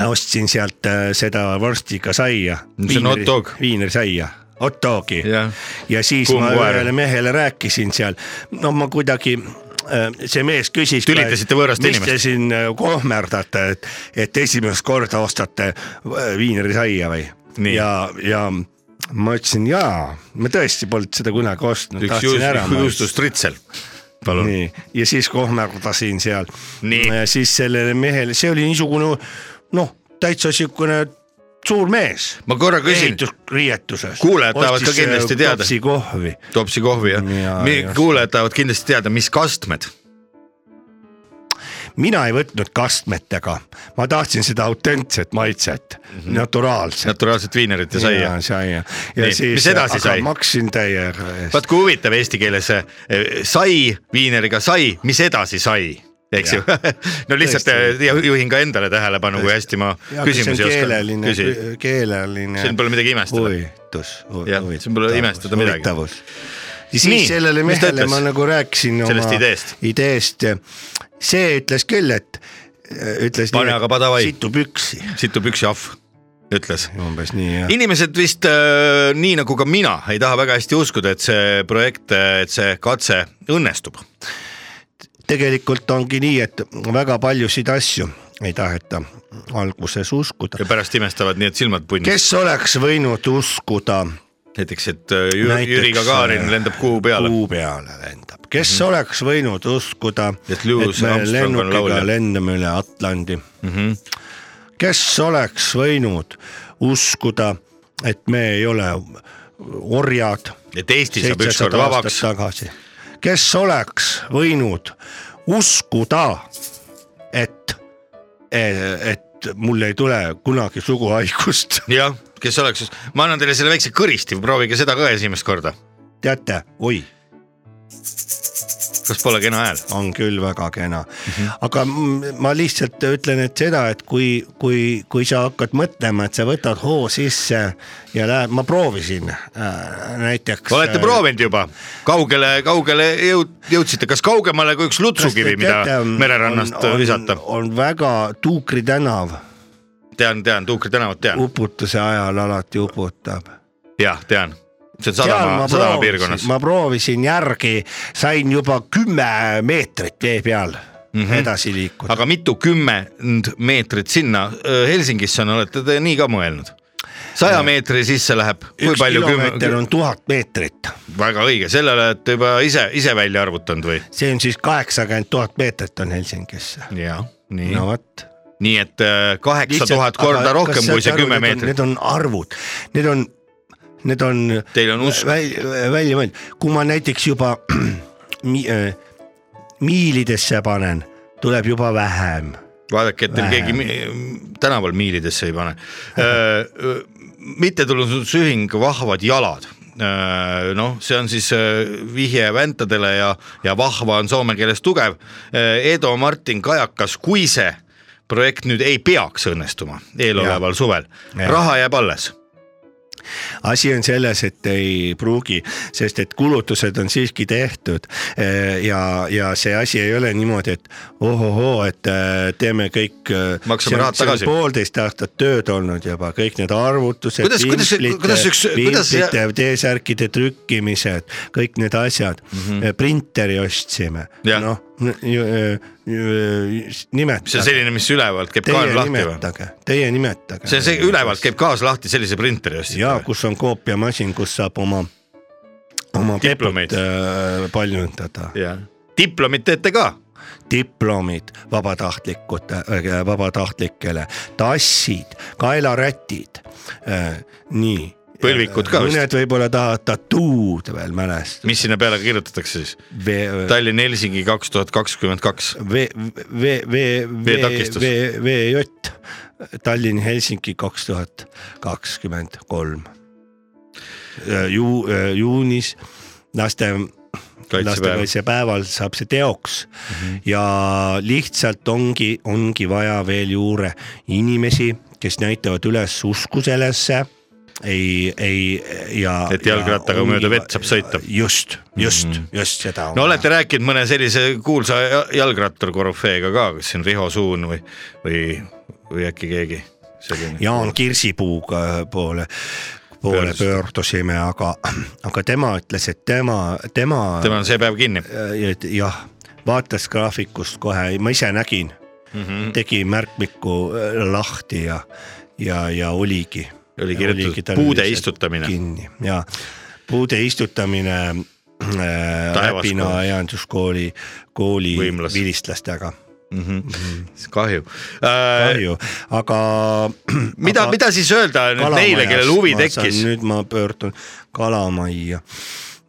E: ostsin sealt äh, seda vorstiga saia .
D: See on hot dog.
E: viinerisaia , hot dogi
D: jah ,
E: ja siis ma
D: Kumb koer?
E: ühele mehele rääkisin seal , no ma kuidagi äh, see mees küsis .
D: Tülitasite võõrast
E: inimest .
D: inimest?
E: mis te siin äh, kohmerdate , et , et esimest korda ostate äh, viinerisaia või ?
D: Nii.
E: ja , ja ma ütlesin jaa , ma tõesti polnud seda kunagi ostnud ,
D: üks
E: tahtsin ära
D: juust- ,
E: maitsta
D: juustus tritsel . palun .
E: nii , ja siis kohmerdasin seal .
D: Nii.
E: siis sellele mehele , see oli niisugune noh , täitsa siukene suur mees .
D: Ma korra küsin.
E: ehitusriietuses .
D: Kuulajad tahavad ka
E: äh,
D: kindlasti teada.
E: kopsikohvi
D: topsi kohvi jah
E: Jaa,
D: ja,
E: just. ?
D: kuulajad tahavad kindlasti teada , mis kastmed .
E: mina ei võtnud kastmetega , ma tahtsin seda autentset maitset mm , -hmm. naturaalset .
D: naturaalset viinerit Mhm. ja saia .
E: saia .
D: Nii,
E: ja siis ,
D: mis edasi sai?
E: maksin täiega eest .
D: vaat kui huvitav eesti keeles äh, sai viineriga sai , mis edasi sai , eks ju . no lihtsalt
E: Tõesti.
D: äh, juhin ka endale tähelepanu , kui hästi ma küsimusi oskan
E: keeleline
D: küsida .,
E: keeleline .
D: siin pole midagi imestada .
E: huvitus .
D: Jah, siin pole imestada midagi.
E: huvitavus . ja
D: Nii,
E: siis sellele
D: mis ta
E: mehele
D: ütles?
E: ma nagu rääkisin
D: Sellest
E: oma
D: ideest?
E: ideest . see ütles küll , et äh, ütles
D: Pane aga padavai.
E: situ püksi ,
D: situb üks jahv , ütles .
E: umbes nii jah .
D: inimesed vist äh, nii nagu ka mina ei taha väga hästi uskuda , et see projekt , et see katse õnnestub .
E: tegelikult ongi nii , et väga paljusid asju ei taheta alguses uskuda
D: ja . pärast imestavad nii , et silmad punnis .
E: kes oleks võinud uskuda
D: näiteks , et äh, Jü-
E: Näiteks,
D: Jüri Gagarin
E: äh,
D: lendab kuu peale .
E: kuu peale lendab , kes mm -hmm. oleks võinud uskuda ,
D: Et Louis Armstrong on laulja. Mhm.
E: lennukiga lendame üle Atlandi mm . -hmm. kes oleks võinud uskuda , et me ei ole orjad
D: et Eesti saab ükskord
E: seitsesada aastat
D: vabaks .
E: tagasi , kes oleks võinud uskuda , et , et mul ei tule kunagi suguhaigust ,
D: jah , kes oleks , ma annan teile selle väikse kõristi , proovige seda ka esimest korda .
E: teate , oi
D: kas pole kena hääl ?
E: on küll väga kena mm ,
D: Mhm.
E: -hmm. aga m- ma lihtsalt ütlen , et seda , et kui , kui , kui sa hakkad mõtlema , et sa võtad hoo sisse ja lähed , ma proovisin äh, näiteks .
D: olete proovinud juba , kaugele , kaugele jõud- , jõudsite , kas kaugemale kui üks lutsukivi , mida mererannast on, visata ?
E: ähm, on väga Tuukri tänav ,
D: tean , tean , Tuukri tänavat tean ,
E: uputuse ajal alati uputab .
D: jah , tean , see on
E: Seal
D: sadama
E: ma ,
D: sadama
E: proovisin-
D: piirkonnas .
E: ma proovisin järgi , sain juba kümme meetrit vee peal mm -hmm. edasi
D: Mhm.
E: liikuda .
D: aga mitu kümmend meetrit sinna öö, Helsingisse on , olete te nii ka mõelnud ? saja meetri sisse läheb , kui
E: Äh, üks
D: palju
E: kilomeeter
D: kümme ,
E: on tuhat meetrit
D: väga õige , selle olete juba ise , ise välja arvutanud või ?
E: see on siis kaheksakümmend tuhat meetrit on Helsingisse .
D: jaa , nii
E: no vot .
D: nii et öö, kaheksa tuhat korda rohkem kui see kümme meetrit .
E: Need on arvud , need on , need on
D: Teil on usk ,
E: välja , välja mõeldud , kui ma näiteks juba mi, äh, miilidesse panen , tuleb juba vähem .
D: vaadake , et teil
E: Vähem.
D: keegi mi- tänaval miilidesse ei pane . mittetulundusühing Vahvad jalad , noh , see on siis öö, vihje väntadele ja , ja vahva on soome keeles tugev . Edo Martin Kajakas , kui see projekt nüüd ei peaks õnnestuma eeloleval suvel ,
E: Ja.
D: raha jääb alles
E: asi on selles, et ei pruugi, sest et kulutused on siiski tehtud Eh, ja , ja see asi ei ole niimoodi , et ohohoo , et eh, teeme kõik . eh,
D: Maksame rahad tagasi.
E: poolteist aastat tööd olnud juba , kõik need arvutused .
D: Kuidas- kuidas- kuidas üks- kuidas see-
E: pimplite , T-särkide trükkimised , kõik need asjad mm , -hmm. printeri ostsime ,
D: Mhm. Jah.
E: noh ,
D: see on
E: eh, nimetage ,
D: selline , mis ülevalt käib
E: teie
D: kael lahti või ?
E: nimetage , teie nimetage .
D: see on see ülevalt käib kaas lahti sellise printeri ostsid
E: ja . kus on koopiamasin , kus saab oma , oma
D: Diplomeid.
E: keput äh, paljundada ,
D: diplomit teete ka
E: diplomid vabatahtlikud äh, , vabatahtlikele , tassid , kaelarätid äh, , nii .
D: Põlvikud ka vist.
E: mõned võib-olla tahavad tattoo'd veel mälest- .
D: mis sinna peale kirjutatakse siis ?
E: V ,
D: Tallinn-Helsingi kaks tuhat kakskümmend kaks .
E: V , V , V ,
D: Veetakistus.
E: V , VJ , Tallinn-Helsingi kaks tuhat kakskümmend kolm . Ju- , juunis laste
D: kaitsepäev . Mhm.
E: lastekaitsepäeval saab see teoks mm -hmm. ja lihtsalt ongi , ongi vaja veel juurde inimesi , kes näitavad üles usku sellesse ei , ei ja .
D: Et jalgrattaga mööda vett saab sõita. Mhm.
E: just , just mm , -hmm. just seda on
D: no olete rääkinud mõne sellise kuulsa ja- jalgrattur korüfeega ka , kas siin Riho Suun või , või , või äkki keegi selline ?
E: Jaan Kirsipuuga äh, poole , poole
D: Pöördus-
E: pöördusime , aga , aga tema ütles , et tema , tema,
D: tema on see päev kinni .
E: Ja- et jah , vaatas graafikust kohe , ma ise nägin mm ,
D: Mhm.
E: -hmm. tegi märkmiku äh, lahti ja , ja , ja oligi .
D: Oli kirjutatud puude istutamine.
E: kinni ja puude istutamine äh,
D: Taevaskoolis.
E: Räpina aianduskooli , kooli
D: Võimlas.
E: vilistlastega .
D: Mhm. kahju, Äh, kahju. .
E: kahju , aga .
D: mida , mida siis öelda nüüd neile , kellel huvi tekkis ?
E: nüüd ma pöördun Kalamajja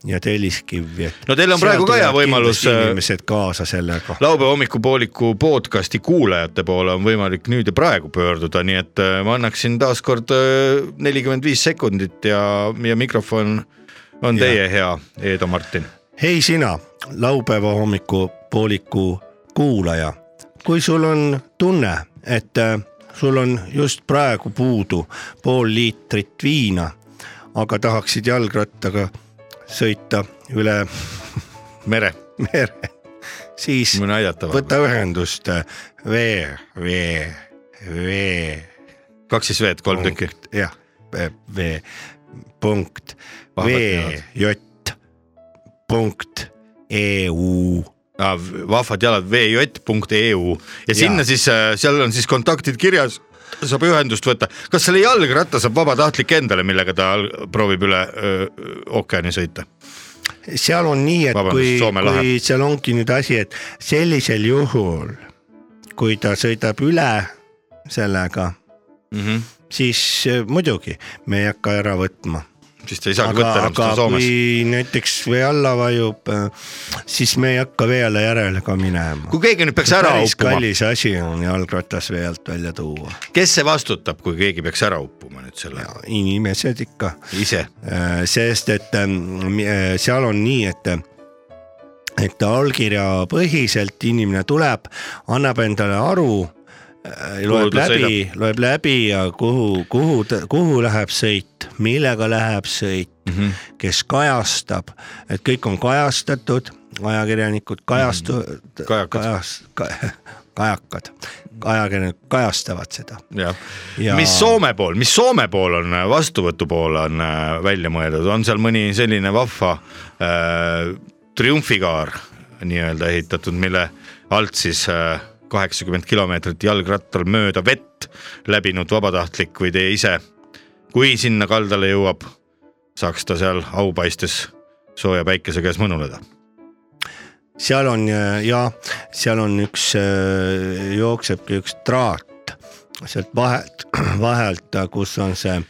E: ja Telliskivvi , et .
D: No teil on praegu ka hea võimalus, äh,
E: inimesed kaasa sellega .
D: laupäeva hommikupooliku podcasti kuulajate poole on võimalik nüüd ja praegu pöörduda , nii et äh, ma annaksin taaskord äh, nelikümmend viis sekundit ja , ja mikrofon on teie hea Eedo Martin .
E: hei sina , laupäeva hommikupooliku kuulaja , kui sul on tunne , et äh, sul on just praegu puudu pool liitrit viina , aga tahaksid jalgrattaga sõita üle
D: Mere ,
E: mere , siis
D: võin aidata või ?
E: võta ühendust äh, vee , vee , vee ,
D: kaks siis V-d ,
E: Oh.
D: kolm tükki .
E: jah , vee punkt ,
D: Vahvad
E: vee
D: peavad.
E: jott punkt E EU
D: Ah, vahvad jalad vj.eu E ja sinna
E: Jaa.
D: siis , seal on siis kontaktid kirjas , saab ühendust võtta . kas selle jalgratta saab vabatahtlik endale , millega ta al- proovib üle öö, ookeani sõita ?
E: seal on nii , et
D: Vabandust,
E: kui ,
D: Soome lahe.
E: kui seal ongi nüüd asi , et sellisel juhul , kui ta sõidab üle sellega mm , -hmm. siis eh, muidugi me ei hakka ära võtma .
D: siis ta ei saagi
E: aga
D: võtta , enam
E: aga
D: seda Soomes kui... .
E: kui näiteks vee alla vajub , siis me ei hakka vee alla järele ka minema .
D: kui keegi nüüd peaks ära
E: päris
D: uppuma ,
E: kallis asi on jalgratas vee alt välja tuua ,
D: kes see vastutab , kui keegi peaks ära uppuma nüüd selle ja.
E: inimesed ikka
D: ise ?
E: Äh, sest et ähm, eh, seal on nii , et et allkirja põhiselt inimene tuleb , annab endale aru ,
D: Kuhu
E: loeb
D: ta
E: läbi , loeb läbi ja kuhu , kuhu , kuhu läheb sõit , millega läheb sõit mm ,
D: Mhm.
E: -hmm. kes kajastab , et kõik on kajastatud , ajakirjanikud kajastu- mm , -hmm.
D: Mhm. Kajakad.
E: kajas, ka, , kajakad , ajakirjanikud kajastavad seda .
D: jah ja... ,
E: Ja-
D: mis Soome pool , mis Soome pool on , vastuvõtu pool on äh, välja mõeldud , on seal mõni selline vahva äh, triumfikaar nii-öelda ehitatud , mille alt siis äh, kaheksakümmend kilomeetrit jalgrattal mööda vett läbinud vabatahtlik või teie ise , kui sinna kaldale jõuab , saaks ta seal aupaistes sooja päikese käes mõnuleda .
E: seal on äh, ja seal on üks , jooksebki üks traat sealt vahelt , vahelt , kus on see .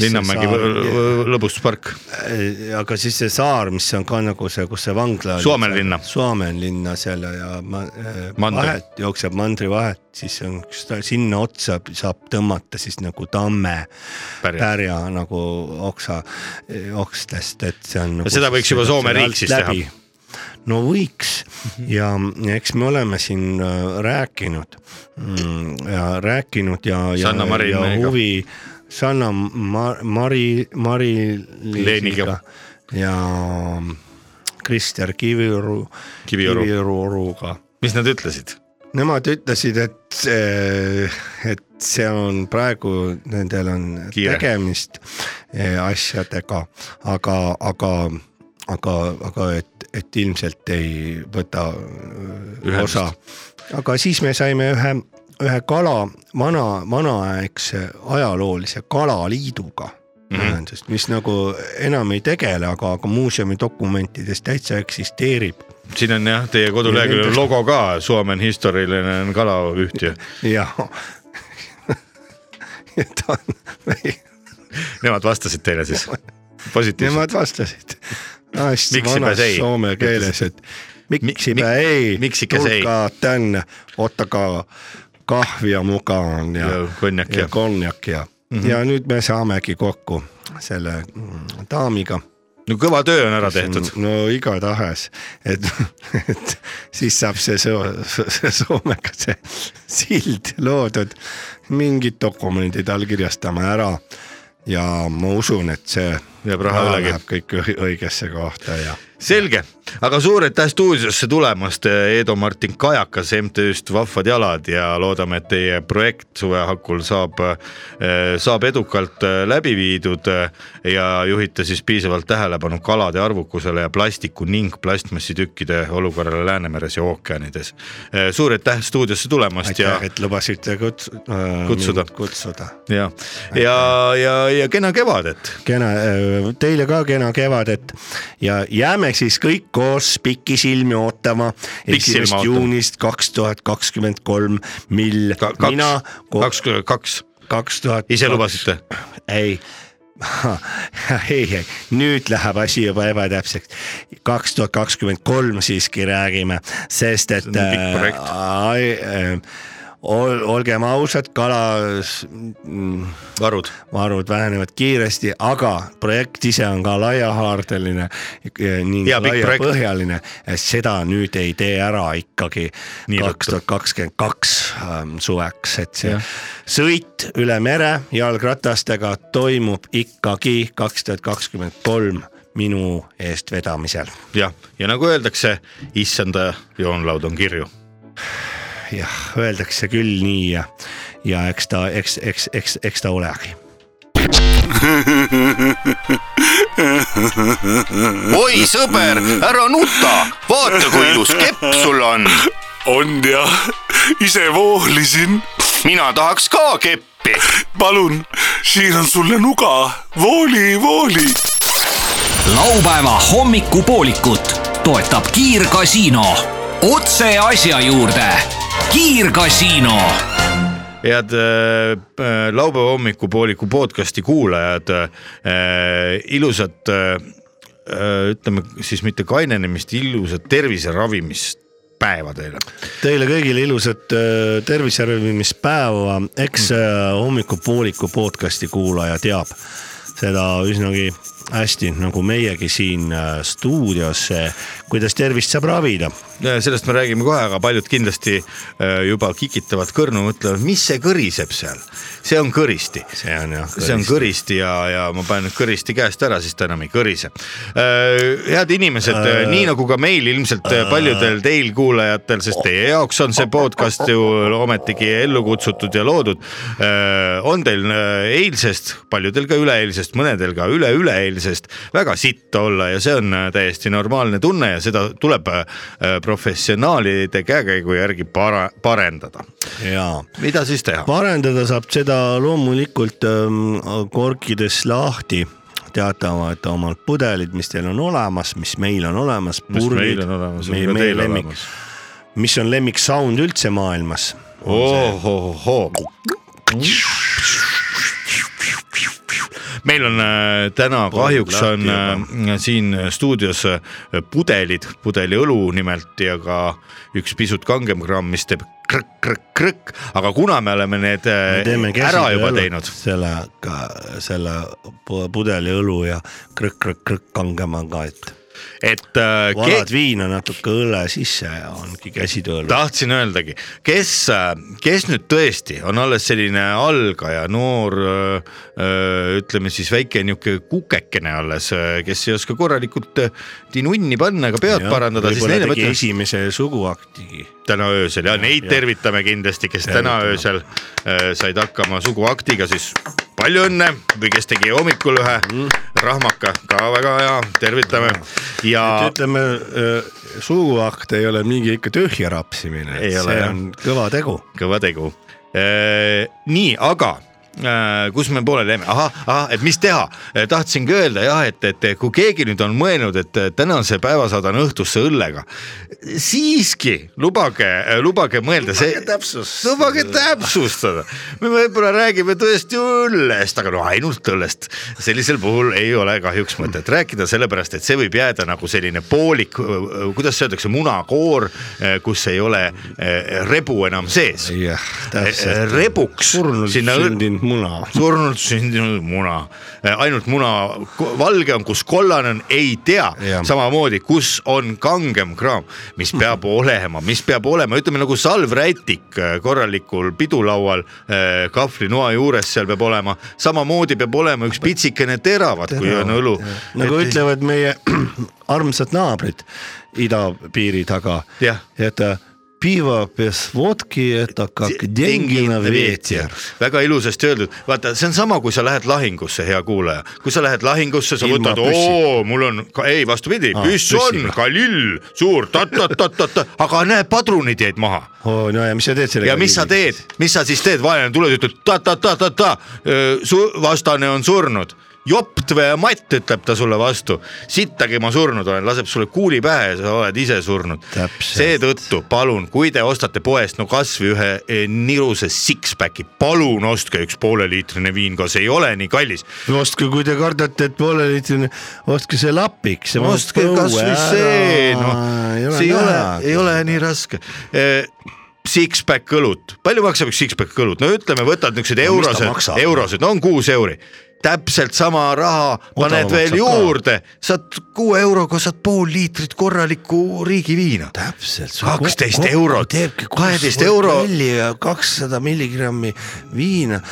D: Linnamägi võ- võ- lõbustuspark ,
E: Äh, aga siis see saar , mis on ka nagu see , kus see vangla oli .
D: Suomenlinna.
E: Suomenlinna seal ja ma, äh,
D: Mandri.
E: vahet jookseb mandri vahet , siis on üks , sinna otsa saab tõmmata siis nagu tamme
D: Pärja.
E: pärja nagu oksa , okstest , et see on nagu, .
D: seda võiks juba Soome riik siis teha.
E: no võiks ja eks me oleme siin äh, rääkinud mm, ja rääkinud ja , ja,
D: Sanna Marin
E: ja
D: meiega.
E: huvi Sanna Mar- , Mari , Mari-Liisiga
D: Leeniga.
E: ja Krister Kiviru ,
D: Kiviõru.
E: Kiviruruga
D: mis nad ütlesid ?
E: Nemad ütlesid , et , et see on praegu , nendel on
D: Kiire.
E: Kiire. tegemist eh, asjadega , aga , aga , aga , aga et , et ilmselt ei võta Ühendust.
D: Ühendust.
E: osa . aga siis me saime ühe , ühe kala , vana , vanaaegse ajaloolise kalaliiduga mm . -hmm. Sest mis nagu enam ei tegele , aga , aga muuseumi dokumentides täitsa eksisteerib .
D: siin on jah , teie koduleheküljel on logo ka , Suomen historiline kalaüht ja
E: jah . et on ,
D: nemad vastasid teile siis positiivselt .
E: nemad vastasid Ah, hästi
D: Miksipä
E: vanas
D: sei?
E: soome keeles , et miksipä
D: Mi-
E: mi,
D: mi-
E: ei ,
D: miksikä sei?
E: tulkaa tänne , ottakaa kahvia mukaan ja,
D: Ja konjak ja-
E: ja, konjak ja. Mm -hmm.
D: Mhm.
E: ja nüüd me saamegi kokku selle mm, daamiga
D: no kõva töö on ära tehtud .
E: no igatahes , et , et siis saab see so- so- Soomega see sild loodud , mingid dokumendid allkirjastame ära ja ma usun , et see
D: Jääb raha ülegi.
E: läheb kõik õi- õigesse kohta ja
D: selge , aga suur aitäh stuudiosse tulemast , Eedo-Martin Kajakas MTÜ-st Vahvad jalad ja loodame , et teie projekt suve hakul saab , saab edukalt eh, läbi viidud eh, ja juhite siis piisavalt tähelepanu kalade arvukusele ja plastiku ning plastmassitükkide olukorrale Läänemeres ja ookeanides . suur aitäh stuudiosse tulemast ja
E: aitäh , et lubasite kuts- ,
D: Kutsuda.
E: kutsuda .
D: ja , ja , ja , ja kena kevadet .
E: kena , teile ka kena kevadet ja jääme siis kõik koos pikisilmi ootama
D: Pikisilma
E: esimest
D: ootama.
E: juunist kaks tuhat kakskümmend kolm , mil
D: kaks
E: mina ,,
D: kaks , kaks ,
E: kaks tuhat .
D: ise lubasite ?
E: ei ei , ei , nüüd läheb asi juba ebatäpseks . kaks tuhat kakskümmend kolm siiski räägime , sest et .
D: on pikk projekt.
E: ol, olgem ausad , kalas mm,
D: varud
E: varud vähenevad kiiresti , aga projekt ise on ka laiahaardeline eh, ning
D: Ja pikk projekt.
E: laiapõhjaline . seda nüüd ei tee ära ikkagi
D: Nii
E: kaks tuhat kakskümmend kaks ähm, suveks , et see sõit üle mere jalgratastega toimub ikkagi kaks tuhat kakskümmend kolm minu eestvedamisel .
D: jah , ja nagu öeldakse , issanda joonlaud on kirju .
E: jah , öeldakse küll nii ja , ja eks ta , eks , eks , eks , eks ta olegi .
A: oi sõber , ära nuta , vaata kui ilus kepp sul on .
B: on jah , ise voolisin .
A: mina tahaks ka keppi .
B: palun , siin on sulle nuga , vooli , vooli
C: laupäeva hommikupoolikut toetab Kiirgasiino . otse asja juurde . kiirgasiino
D: head äh, äh, laupäeva hommikupooliku podcast'i kuulajad äh, , ilusat äh, äh, ütleme siis mitte kainenemist , ilusat terviseravimispäeva teile .
E: Teile kõigile ilusat öö, terviserõõmispäeva ,
D: Mm.
E: eks öö, hommikupooliku podcasti kuulaja teab seda üsnagi hästi , nagu meiegi siin öö, stuudios , kuidas tervist saab ravida .
D: Äh, sellest me räägime kohe , aga paljud kindlasti äh, juba kikitavad kõrnu , mõtlevad , mis see kõriseb seal , see on kõristi
E: see on jah .
D: see on . kõristi ja , ja ma panen nüüd kõristi käest ära , siis ta enam ei kõrise . head inimesed ,
E: Äh,
D: nii nagu ka meil ilmselt äh, paljudel teil kuulajatel , sest teie jaoks on see podcast ju ometigi ellu kutsutud ja loodud . on teil äh, eilsest , paljudel ka üleeilsest , mõnedel ka üle-üleeilsest väga sitt olla ja see on äh, täiesti normaalne tunne ja seda tuleb äh, professionaalide käekäigu järgi para- , parendada .
E: jaa
D: mida siis teha ?
E: parendada saab seda loomulikult ähm, korkides lahti teatavad omad pudelid , mis teil on olemas , mis meil on olemas ,
D: mis meil
E: purgid
D: on olemas , on
E: meie-
D: ka
E: meie
D: teil
E: lemmik ,
D: olemas .
E: mis on lemmiksound üldse maailmas .
D: ohohohoo . meil on äh, täna kahjuks on äh, siin stuudios äh, pudelid , pudeliõlu nimelt ja ka üks pisut kangem gramm , mis teeb krõkk-krõkk-krõkk , aga kuna me oleme need äh, ära juba teinud ,
E: selle , selle pu- pudeli õlu ja krõkk-krõkk-krõkk kangemaga , et
D: et äh, ke-
E: valad viina natuke õlle sisse ja ongi käsi tõõlus .
D: tahtsin öeldagi , kes , kes nüüd tõesti on alles selline algaja , noor , ütleme siis väike niuke kukekene alles , kes ei oska korralikult öö, tinunni panna ega pead parandada , siis neile
E: tegi
D: mõtleme
E: esimese suguaktigi .
D: täna öösel ja neid
E: ja.
D: tervitame kindlasti , kes täna öösel öö, said hakkama suguaktiga , siis palju õnne või kes tegi hommikul ühe
E: Mm.
D: rahmaka , ka väga hea , tervitame ja
E: ütleme , suguakt ei ole mingi ikka tühja rapsimine ,
D: Ei
E: see
D: ole, jah.
E: on kõva tegu .
D: kõva tegu . nii , aga äh, kus me pooleli jäime , ahah , ahah , et mis teha , tahtsingi öelda jah , et , et kui keegi nüüd on mõelnud , et tänase päeva saadan õhtusse õllega , siiski lubage , lubage mõelda see ,
E: täpsustada.
D: lubage täpsustada , me võib-olla räägime tõesti õllest , aga no ainult õllest , sellisel puhul ei ole kahjuks mõtet rääkida , sellepärast et see võib jääda nagu selline poolik , kuidas öeldakse , munakoor , kus ei ole äh, rebu enam sees Äh,
E: jah , täpselt .
D: rebuks
E: surnult
D: sinna õl-
E: sündinud muna .
D: surnult sündinud muna , ainult muna ko- valge on , kus kollane on , ei tea
E: Jah. ,
D: samamoodi , kus on kangem kraam , mis peab olema , mis peab olema , ütleme nagu salvrätik äh, korralikul pidulaual äh, kahvlinoa juures , seal peab olema , samamoodi peab olema üks pitsikene teravat , kui on õlu .
E: nagu et... ütlevad meie armsad naabrid idapiiri taga
D: Jah. ,
E: et äh, piiva без водки это как деньги на ветер .
D: väga ilusasti öeldud , vaata , see on sama , kui sa lähed lahingusse , hea kuulaja , kui sa lähed lahingusse , sa
E: Ilma
D: võtad ,
E: püssita.
D: oo , mul on , ei vastupidi ,
E: Aa,
D: püss on
E: püssiga. ,
D: kalill , suur ta-ta-ta-ta-ta , aga näe , padrunid jäid maha
E: oo , Oh, no ja mis sa teed sellega ?
D: ja mis sa teed , mis sa siis teed , vaenlane tuleb ja ütleb ta-ta-ta-ta-ta , Äh, su vastane on surnud . joptve ja matt ütleb ta sulle vastu , sittagi ma surnud olen , laseb sulle kuuli pähe ja sa oled ise surnud .
E: Täpselt.
D: seetõttu palun , kui te ostate poest no kasvõi ühe eh, niruse six-packi , palun ostke üks pooleliitrine viin ka , see ei ole nii kallis .
E: ostke , kui te kardate , et pooleliitrine , ostke see lapik , see mahub
D: ostke
E: põue
D: kasvõi
E: ära.
D: see , noh , see ei ole , ei
E: näha.
D: ole nii raske . Six-pack õlut , palju maksab üks six-pack õlut , no ütleme , võtad niisugused
E: No mis ta
D: eurosed
E: maksab? ,
D: eurosed , no on kuus euri täpselt sama raha paned veel
E: maksab ka.
D: juurde , saad kuue euroga saad pool liitrit korralikku riigiviina .
E: täpselt .
D: kaksteist eurot.
E: teebki
D: 12
E: kaheteist
D: euro.
E: euro . kakssada milligrammi viina ,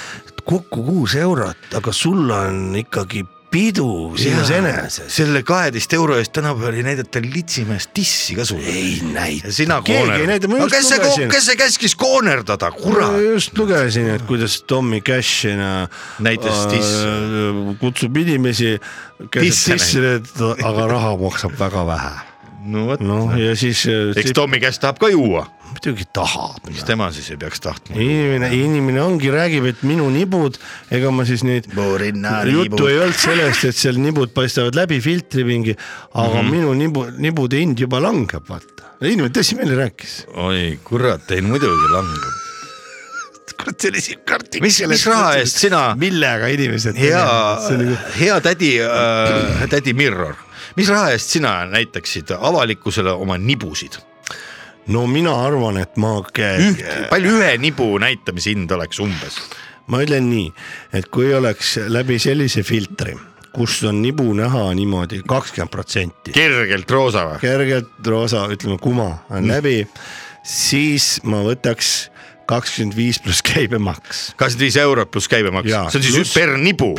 E: kokku kuus eurot , aga sul on ikkagi pidu sinus eneses .
D: selle kaheteist euro eest tänapäeval ei näidata litsimeest tissi ka sulle .
E: ei näita .
D: sina
E: keegi ei näita ,
D: koonerdad aga
E: ma ,
D: kes
E: just
D: see ,
E: lugesin .
D: kes see käskis koonerdada ,
E: ma
D: kurat .
E: just lugesin , et kuidas Tommy Cashina äh,
D: Näitas tisse.
E: kutsub inimesi , kes
D: Tisse
E: tisse näitavad , aga raha maksab väga vähe .
D: no vot
E: noh , ja siis
D: eks Tommy käest tahab ka juua ,
E: muidugi tahab . noh.
D: mis tema siis ei peaks tahtma .
E: inimene , inimene ongi , räägib , et minu nibud , ega ma siis neid
D: Mu rinna nibud.
E: juttu ei olnud sellest , et seal nibud paistavad läbi filtri mingi , aga mm
D: Mhm.
E: -hmm. minu nibu , nibude hind juba langeb , vaata . inimene tõsimeeli rääkis .
D: oi kurat , ei muidugi langeb .
E: kurat , see oli siuke artikkel .
D: mis , mis raha eest ? sina ,
E: millega inimesed .
D: hea , hea tädi äh, , tädi Mirror , mis raha eest sina näitaksid avalikkusele oma nibusid ?
E: no mina arvan , et ma
D: üht
E: käin ,,
D: Äh, palju ühe nibu näitamise hind oleks umbes ?
E: ma ütlen nii , et kui oleks läbi sellise filtri , kus on nibu näha niimoodi kakskümmend protsenti .
D: kergelt roosa või ?
E: kergelt roosa , ütleme kuma
D: Mm.
E: on läbi , siis ma võtaks kakskümmend viis pluss käibemaks .
D: kakskümmend viis eurot pluss käibemaks ,
E: Jaa,
D: see on siis
E: pluss-
D: per nibu .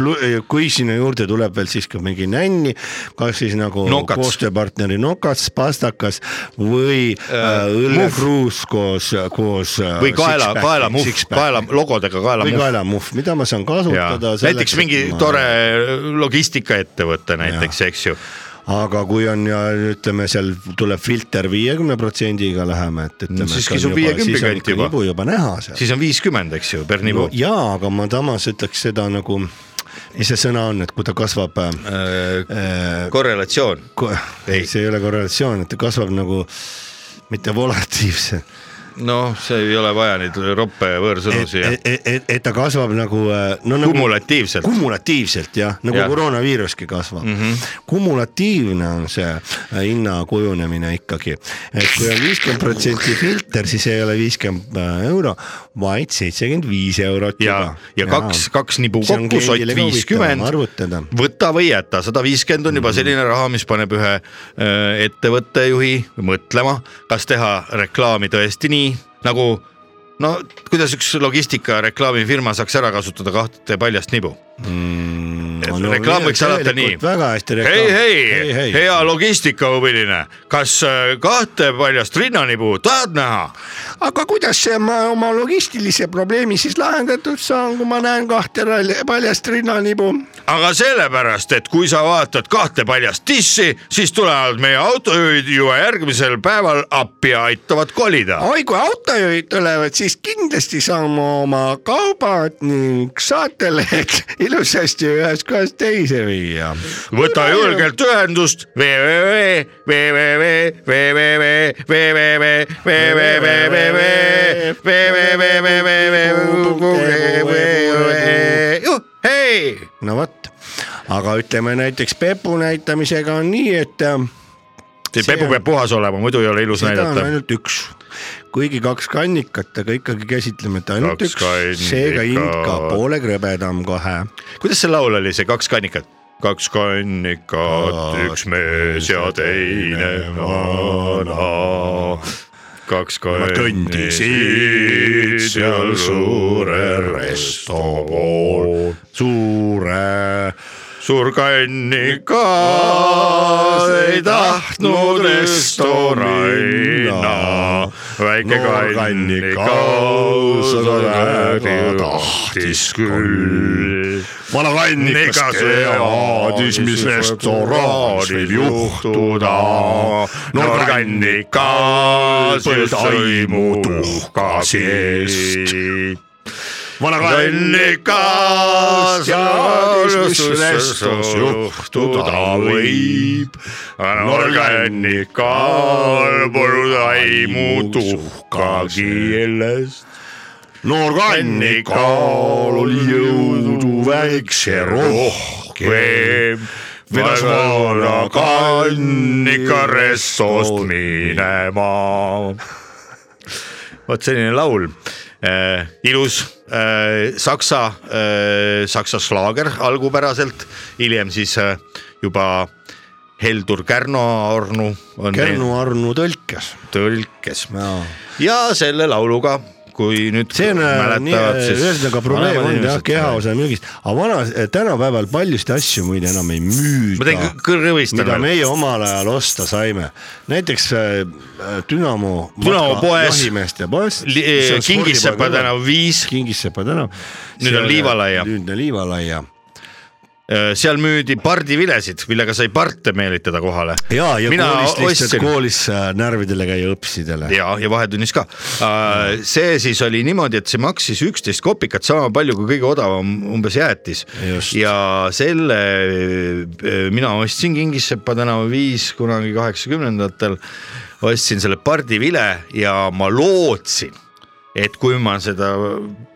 E: kui sinna juurde tuleb veel siis ka mingi nänni , kas siis nagu
D: Nokats.
E: koostööpartneri nokats , pastakas või äh, õllekruus koos , koos .
D: või kaela , kaelamuhv , kaela , logodega
E: või
D: kaelamuhv .
E: kaelamuhv , mida ma saan kasutada .
D: näiteks mingi tore logistikaettevõte näiteks , eks ju .
E: aga kui on ja ütleme , seal tuleb filter viiekümne protsendiga läheme , et ütleme .
D: siis kisub 50 kanti juba.
E: nibu juba näha seal .
D: siis on viiskümmend , eks ju , per
E: No,
D: nibu .
E: ja , aga ma samas ütleks seda nagu , mis see sõna on , et kui ta kasvab äh, ,
D: korrelatsioon ,
E: ko,
D: ei.
E: ei , see ei ole korrelatsioon , et ta kasvab nagu mitte volatiivse ,
D: noh , see ei ole vaja neid roppe võõrsõnu
E: et ,
D: siia .
E: et , et , et ta kasvab nagu äh, no, nagu-
D: Kumulatiivselt.
E: kumulatiivselt jah ,
D: Jah.
E: nagu
D: Mhm.
E: ja. koroonaviiruski kasvab mm . -hmm. kumulatiivne on see äh, hinna kujunemine ikkagi , et kui on viiskümmend protsenti filter , siis ei ole viiskümmend äh, euro , vaid seitsekümmend viis eurot
D: ja , ja kaks , kaks nibu
E: See on
D: kokku , sott
E: kliendile ka huvitavam
D: viiskümmend
E: arvutada. ,
D: võta või jäta , sada viiskümmend
E: Mhm.
D: on juba selline raha , mis paneb ühe äh, ettevõttejuhi mõtlema , kas teha reklaami tõesti nii nagu no kuidas üks logistika reklaamifirma saaks ära kasutada kahte paljast nibu
E: Mm. no,
D: reklaam võiks alata nii.
E: väga hästi
D: hei ,
E: reklaam .
D: hei , hei , hea logistikahuviline , kas äh, kahte paljast rinnanibu tahad näha ?
E: aga kuidas see ma oma logistilise probleemi siis lahendatud saan , kui ma näen kahte ralli- paljast rinnanibu ?
D: aga sellepärast , et kui sa vaatad kahte paljast tissi , siis tulevad meie autojuhid juba järgmisel päeval appi ja aitavad kolida .
E: oi , kui autojuhid tulevad , siis kindlasti saame oma kaubad ning saatelehed ilusasti ühest kohast teise viia .
D: võta julgelt ühendust www , www , www , www , www , www , hei ,
E: no vot , aga ütleme näiteks Pepu näitamisega on nii , et äh,
D: see pepu peab puhas olema , muidu ei ole ilus
E: seda on
D: näidata .
E: ainult üks , kuigi kaks kannikat , aga ikkagi käsitleme , et ainult
D: Kaks
E: kaks üks , seega hind ka
D: kannikat.
E: poole krõbedam kohe
D: kuidas see laul oli , see kaks kannikat ? kaks kannikat , üks mees ja teine vana . kaks kannikat seal suure resto pool .
E: suure
D: suur kannikas ei tahtnud restorana . väike
E: Noor
D: kannikas
E: kannikas
D: väga
E: väga
D: tahtis küll
E: vana
D: ega
E: kannikas
D: see aadis , mis restoranis võib juhtuda . noor kannikas just sõimu tuhka seest .
E: vana
D: kannikas ja aadis , mis restos juhtuda võib . noor kannikal polnud aimu tuhkagi sellest .
E: noor
D: kannikal oli jõudu väikse rohkem , vedas vana kannika restost minema . vot selline laul äh, , ilus äh, saksa äh, , saksa slaager algupäraselt , hiljem siis äh, juba Heldur Kärno-Arnu on
E: Kernu Arnu tõlkes .
D: tõlkes ja selle lauluga , kui nüüd
E: see on äh, nii ,
D: mäletavad , siis .
E: ühesõnaga probleem on jah , kehaosa müügist , aga vana , tänapäeval paljusid asju muide enam ei
D: ma teen kõ-
E: müüda ,
D: kõrvistan
E: mida
D: veel ,
E: meie omal ajal osta saime . näiteks äh, Dünamo .
D: Dünamo poes.
E: jahimeeste poes .
D: Kingissepa äh, tänav viis ,
E: Kingissepa tänav .
D: Nüüd on Liivalaia.
E: nüüdne Liivalaia
D: äh, seal müüdi pardivilesid , millega sai parte meelitada kohale .
E: ja , ja
D: mina
E: koolis lihtsalt
D: ostsin
E: koolis äh, närvidele käia õppisidele .
D: ja , ja vahetunnis ka . see siis oli niimoodi , et see maksis üksteist kopikat , sama palju kui kõige odavam umbes jäätis
E: Just. .
D: ja selle äh, mina ostsin Kingissepa tänava viis kunagi kaheksakümnendatel , ostsin selle pardivile ja ma lootsin , et kui ma seda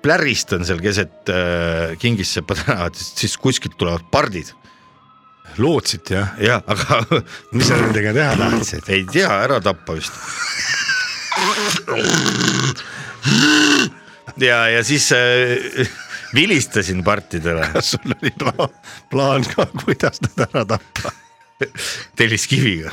D: pläristan seal keset äh, Kingissepa tänavat , siis kuskilt tulevad pardid .
E: lootsid jah ?
D: jah , aga
E: mis sa nendega teha tahtsid ?
D: ei tea , ära tappa vist . ja , ja siis äh, vilistasin partidele
E: sul oli plaan, plaan ka , kuidas nad ära tappa .
D: telliskiviga .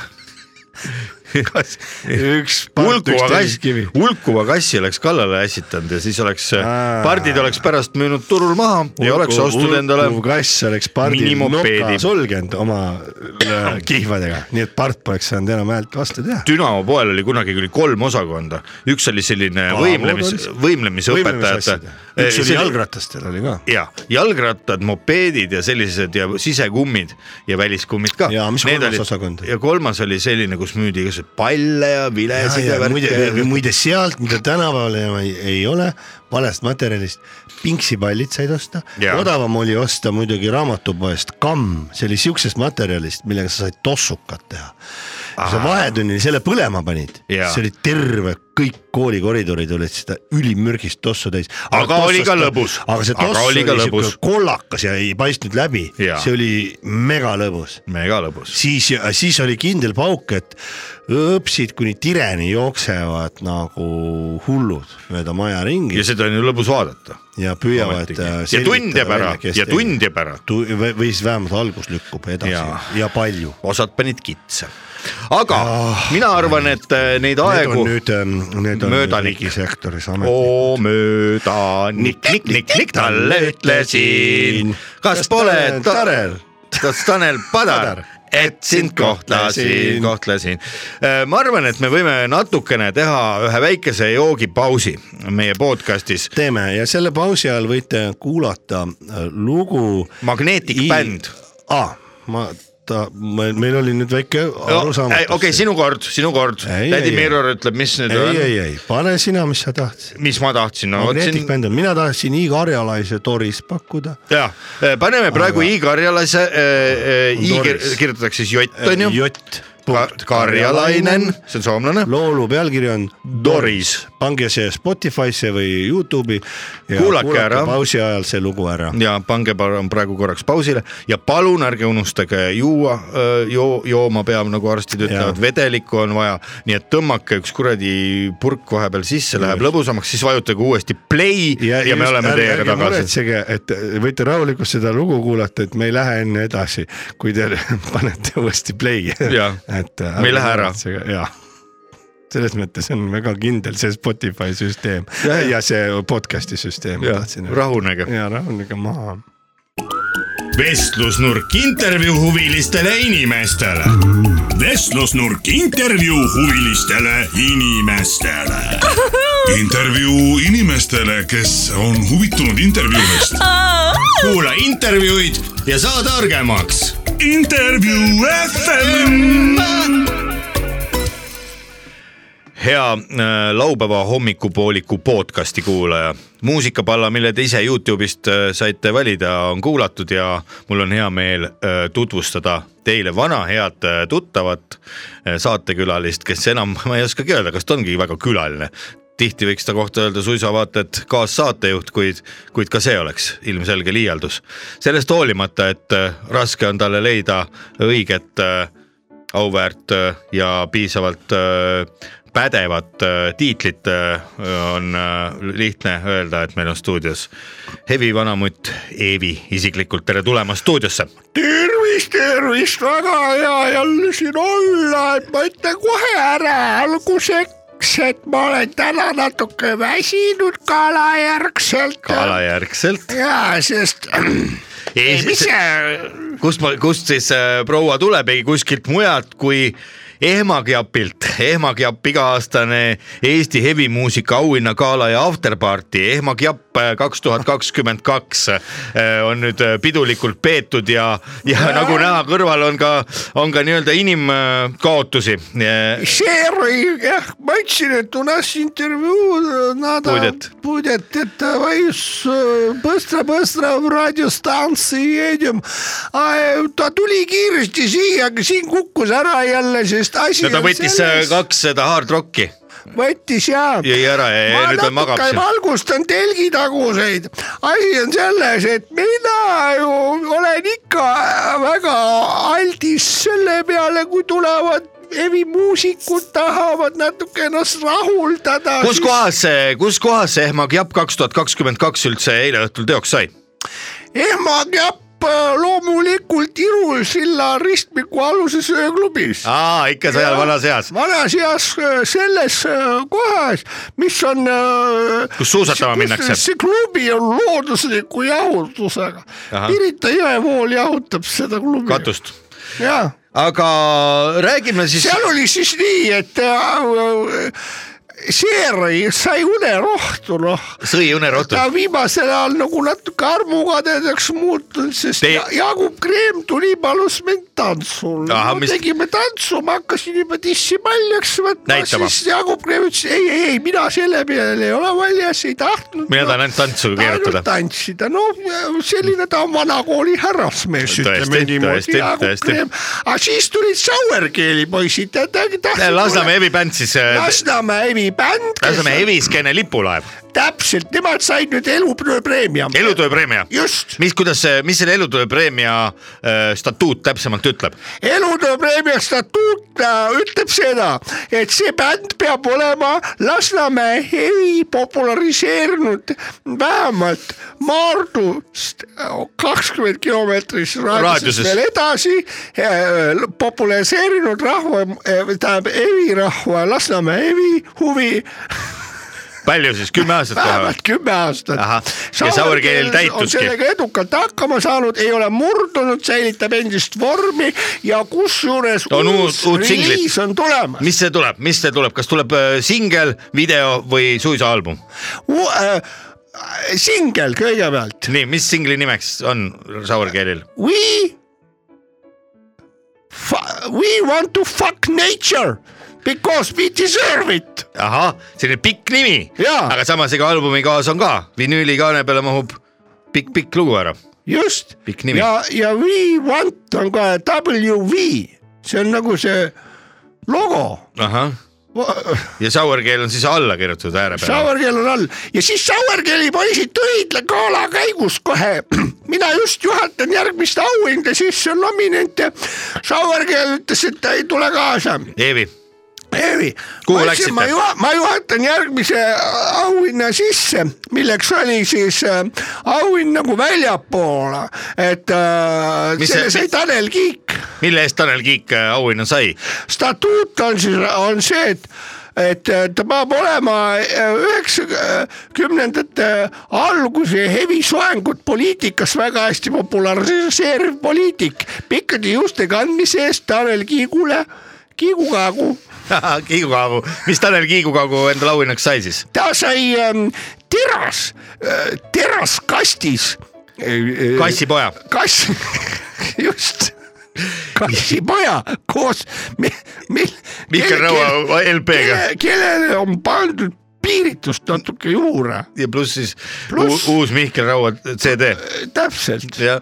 E: üks part ,
D: hulkuva
E: üks
D: kass
E: telliskivi .,
D: hulkuva kassi oleks kallale ässitanud ja siis oleks äh,
E: Aa. , pardid
D: pardid oleks pärast müünud turul maha ja oleks ostnud endale
E: kass oleks pardi
D: minimopeedi.
E: noka sulgenud oma äh, kihvadega , nii et part poleks saanud enam häält vastu teha .
D: Dünamo poel oli kunagi küll kolm osakonda , üks oli selline
E: Aa,
D: võimlemis
E: mul ,
D: võimlemisõpetajate . Äh,
E: üks oli jalgratastel oli ka .
D: ja jalgrattad , mopeedid ja sellised ja sisekummid ja väliskummid ka .
E: Ja mis kolmas osakond?
D: ja kolmas oli selline , kus müüdi igasuguseid palle ja vilesid ja, ja
E: muide ,
D: värki .
E: muide sealt , mida tänapäeval enam ei, ei ole , valest materjalist , pinksipallid said osta
D: Jaa. .
E: odavam oli osta muidugi raamatupoest kamm , see oli siuksest materjalist , millega sa said tossukat teha . sa vahetunnil selle põlema panid ,
D: Jaa.
E: see oli terve , kõik koolikoridorid olid seda ülimürgist tossu täis .
D: Aga oli ka lõbus.
E: aga see
D: Aga
E: toss
D: oli
E: oli,
D: ka
E: oli
D: lõbus.
E: siuke kollakas ja ei paistnud läbi ,
D: Jaa.
E: see oli megalõbus
D: mega lõbus .
E: siis , siis oli kindel pauk , et õpsid kuni tireni jooksevad nagu hullud mööda maja ringi
D: ja
E: ja,
D: seda on ju lõbus vaadata .
E: ja püüavad . äh,
D: ja tund jääb ära ja tund jääb ära .
E: või või siis vähemalt algus lükkub edasi ja,
D: Jaa.
E: ja palju .
D: osad panid kitse . aga mina arvan , et äh, neid
E: Ah. Need on
D: aegu
E: nüüd , need on nüüd
D: möödanik.
E: riigisektoris ametnikud .
D: oo möödanik , nik , nik , nik talle ütlesin , kas pole tore ,
E: Tarel ?
D: kas Tanel Padar
E: Padar. ,
D: et sind kohtlesin ,
E: Kohtlesin.
D: kohtlesin . ma arvan , et me võime natukene teha ühe väikese joogipausi meie podcast'is .
E: teeme ja selle pausi ajal võite kuulata äh, lugu .
D: Magnetic Band. .
E: aa , ma , ta , meil oli nüüd väike arusaamatus .
D: okei , sinu kord , sinu kord ,
E: Ei,
D: tädi
E: ei,
D: Mirror ütleb , mis nüüd
E: ei ,
D: on ,
E: ei , ei , pane sina , mis sa tahtsid .
D: mis ma tahtsin , no
E: Magnetic
D: otsin
E: Band on , mina tahtsin I Karjalaise Toris pakkuda .
D: ja äh, paneme praegu
E: Aga-
D: I Karjalase , I kir-
E: Doris. Äh,
D: kirjutatakse siis jott onju .
E: jott .
D: Karjalainen , see on soomlane .
E: loolu pealkiri on
D: Doris. .
E: pange see Spotify'sse või Youtube'i .
D: Kuulake ära.
E: pausi ajal see lugu ära .
D: ja pange palun praegu korraks pausile ja palun ärge unustage juua , joo , jooma peab , nagu arstid ütlevad ,
E: Jaa.
D: vedelikku on vaja , nii et tõmmake üks kuradi purk vahepeal sisse , läheb lõbusamaks , siis vajutage uuesti play ja, ja me oleme teiega tagasi .
E: muretsege , et võite rahulikult seda lugu kuulata , et me ei lähe enne edasi , kui te panete uuesti play'i .
D: Jaa.
E: et äh,
D: Me ei lähe ära.
E: jaa , selles mõttes on väga kindel see Spotify süsteem
D: Jaa,
E: ja,
D: jaa.
E: ja see podcast'i süsteem .
D: rahunege .
E: ja rahunege maha .
H: vestlusnurk intervjuu huvilistele inimestele . vestlusnurk intervjuu huvilistele inimestele .
B: intervjuu inimestele , kes on huvitunud intervjuudest .
H: kuula intervjuud ja saa targemaks .
B: intervjuu FM .
D: hea äh, laupäeva hommikupooliku podcasti kuulaja . muusikapalla , mille te ise Youtube'ist äh, saite valida , on kuulatud ja mul on hea meel äh, tutvustada teile vana head äh, tuttavat äh, saatekülalist , kes enam , ma ei oskagi öelda , kas ta ongi väga külaline . tihti võiks ta kohta öelda suisa vaata , et kaassaatejuht , kuid , kuid ka see oleks ilmselge liialdus . sellest hoolimata , et äh, raske on talle leida õiget äh, auväärt äh, ja piisavalt äh, pädevat äh, tiitlit äh, on äh, lihtne öelda , et meil on stuudios Hevi vanamutt Eevi isiklikult , tere tulemast stuudiosse .
E: tervist , tervist , väga hea jälle siin olla , et ma ütlen kohe ära alguseks , et ma olen täna natuke väsinud kalajärgselt .
D: alajärgselt .
E: ja sest mis see ,
D: kust ma , kust siis äh, proua tuleb , ei kuskilt mujalt kui ehmakjapilt , ehmakjapp iga-aastane Eesti hevimuusika auhinnagala ja afterparty , ehmakjapp kaks tuhat kakskümmend kaks on nüüd äh, pidulikult peetud ja , ja nagu näha , kõrval on ka , on ka nii-öelda inimkaotusi .
E: see oli jah , ma ütlesin , et у нас интервью надо
D: Будет.
E: будет это воюс быстро быстро в радиостанции едем , e, ta tuli kiiresti siia , aga siin kukkus ära jälle , sest asi
D: no ta võttis äh, kaks seda hard rocki ,
E: võttis ja .
D: jõi ära ja, ja nüüd ta magab
E: natuke
D: siin .
E: valgustan telgitaguseid . asi on selles , et mina ju olen ikka väga aldis selle peale , kui tulevad hevimuusikud tahavad natuke ennast rahuldada .
D: kus ? kohas see , kus kohas see ehmakjapp kaks tuhat kakskümmend kaks üldse eile õhtul teoks sai ?
E: ehmakäpp äh, loomulikult Iru silla ristmiku aluses ööklubis .
D: aa , ikka sajal vanas eas ,
E: vanas eas äh, selles äh, kohas , mis on .
D: Kus suusatama minnakse.
E: see klubi on loodusliku jahutusega
D: Ahah. .
E: Pirita jõevool jahutab seda klubi .
D: katust .
E: jaa ,
D: aga räägime siis ,
E: seal oli siis nii , et äh, Seeri sai unerohtu , noh .
D: sõi unerotu .
E: ta viimasel ajal nagu natuke armukadedaks muutunud , sest
D: Te-
E: Te... Jaagup Kreem tuli , palus mind tantsule
D: Ahah, . mis-
E: Mis... tegime tantsu , ma hakkasin juba tissi paljaks võtma ,
D: Näitama.
E: siis Jaagup Kreem ütles ei , ei , ei , mina selle peale ei ole valjas , ei tahtnud .
D: mina tahan ainult tantsu
E: ainult
D: keerutada .
E: tantsida , noh selline ta on vanakooli härrasmees , ütleme
D: Tõesti, tõesti,
E: niimoodi , Jaagup
D: tõesti.
E: Kreem . aga siis tulid Sauerkeeli poisid ja ta tahtsid .
D: Lasnamäe heavy bänd siis ,
E: Lasnamäe Evi bänd , kes
D: Lasnamäe heavy skeene lipulaev ,
E: täpselt , nemad said nüüd elupreemia .
D: elutööpreemia .
E: just ,
D: mis , kuidas , mis selle elutööpreemia äh, statuut täpsemalt ütleb ?
E: elutööpreemia statuut äh, ütleb seda , et see bänd peab olema Lasnamäe hevi populariseerinud vähemalt Maardust kakskümmend kilomeetris raadiuses
D: Raadiuses.
E: veel edasi äh, populariseerinud rahva , tähendab hevi rahva , Lasnamäe hevi huvi
D: palju siis , kümme aastat kohe või
E: vähemalt ? kümme aastat
D: Ahah, ja Saur keel
E: on
D: täituski.
E: sellega edukalt hakkama saanud , ei ole murdunud , säilitab endist vormi ja kusjuures
D: On uut-
E: uus,
D: uut singlit.
E: reliis on tulemas .
D: mis see tuleb , mis see tuleb , kas tuleb äh, singel , video või suisa album ?
E: Äh, singel kõigepealt ,
D: nii , mis singli nimeks on Sour Keelil ?
E: We . We want to fuck nature because we deserve it .
D: ahah , selline pikk nimi ,
E: Jaa.
D: aga samas ega albumi kaas on ka , vinüülikaane peale mahub pikk-pikk lugu ära .
E: just
D: Pikk nimi.
E: ja , ja we want on ka WV , see on nagu see logo
D: ahah ,
E: Va-
D: ja Sour Keel on siis alla kirjutatud ääre peale .
E: Sauerkell on all ja siis Sauerkelli poisid tulid gala käigus kohe . mina just juhatan järgmist auhinda , siis on nominente . Sauerkell ütles , et ta ei tule kaasa .
D: Eevi ,
E: Eevi ,
D: Kuhu
E: ma
D: läksite?
E: ma, juha, ma juhatan järgmise auhinna sisse , milleks oli siis äh, auhind nagu väljapoole , et äh,
D: Mis
E: selle
D: see-
E: sai Tanel Kiik .
D: mille eest Tanel Kiik äh, auhinna sai ?
E: statuut on siis , on see , et et äh, ta peab olema äh, üheksakümnendate alguse hevisoengut poliitikas väga hästi populariseeriv poliitik , pikkade juuste kandmise eest Tanel Kiigule , Kiigukagu ,
D: Kiigukagu , mis Tanel Kiigukagu endale auhinnaks sai siis ?
E: ta sai ähm, teras , teraskastis .
D: kassipoja ,
E: kass , just , kassipoja koos mi, , mi,
D: Mihkel Raua LP-ga
E: kelle , kellele on pandud piiritust natuke juurde ,
D: ja pluss siis
E: Pluss-
D: Plus. uus Mihkel Raua CD
E: täpselt .
D: jah ,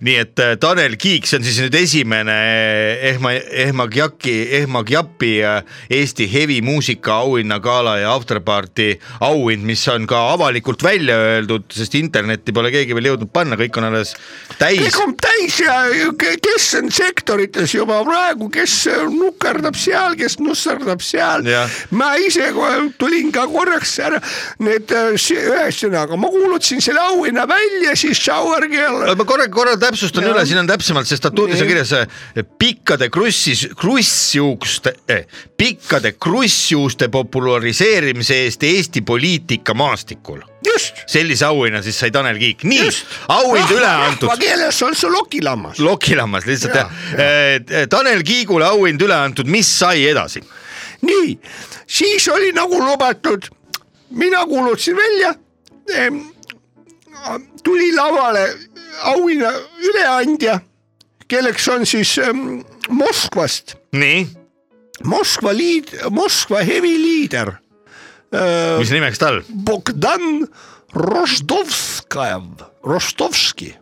D: nii et äh, Tanel Kiik , see on siis nüüd esimene äh, Ehma , Ehmagjaki , Ehmagjapi äh, Eesti hevimuusika auhinnagala ja afterparty auhind , mis on ka avalikult välja öeldud , sest internetti pole keegi veel jõudnud panna , kõik on alles täis
E: kõik . on täis ja ke- kes on sektorites juba praegu , kes nukerdab seal , kes nusserdab seal
D: Jah. .
E: ma ise kohe tulin ka korraks ära , need äh, si- ühesõnaga ma kuulutasin selle auhinna välja , siis Shower Girl
D: Äh, ma korra , korra täpsustan ja. üle , siin on täpsemalt , see statuudis on
E: Nii.
D: kirjas äh, pikkade krussis , krussjuukste eh, , pikkade krussjuuste populariseerimise eest Eesti poliitika maastikul
E: just .
D: sellise auhinna siis sai Tanel Kiik , nii auhind üle antud ,
E: keeles on see lokilammas .
D: lokilammas lihtsalt jah ja. , Tanel Kiigule auhind üle antud , mis sai edasi ?
E: nii , siis oli nagu lubatud , mina kuulutasin välja , tuli lavale auhinna üleandja , kelleks on siis em, Moskvast ,
D: nii ,
E: Moskva liid , Moskva heviliider Äh.
D: mis nimeks tal ?
E: Bogdan Rostovskaja , Rostovski .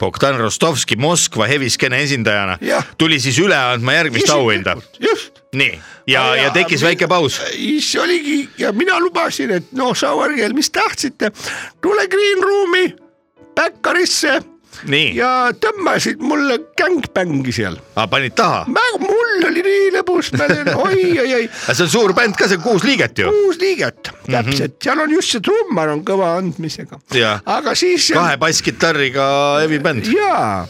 D: Bogdan Rostovski Moskva heviskeene esindajana
E: Jah.
D: tuli siis üle andma järgmist auhinda .
E: just
D: nii , ja
E: Aga ,
D: ja tekkis
E: mi-
D: väike paus .
E: siis oligi ja mina lubasin , et no Sauerkell , mis tahtsite , tule Green Roomi päkkarisse
D: nii ,
E: ja tõmbasid mulle gängbängi seal .
D: panid taha ,
E: mul oli nii lõbus , ma olin oi-oi-oi ,
D: aga see on suur bänd ka , see on kuus liiget ju .
E: kuus liiget täpselt , seal on just see trummar on kõva andmisega
D: Mhm. Jaa. .
E: aga siis .
D: kahe Mhm. basskitarriga hevibänd .
E: jaa ,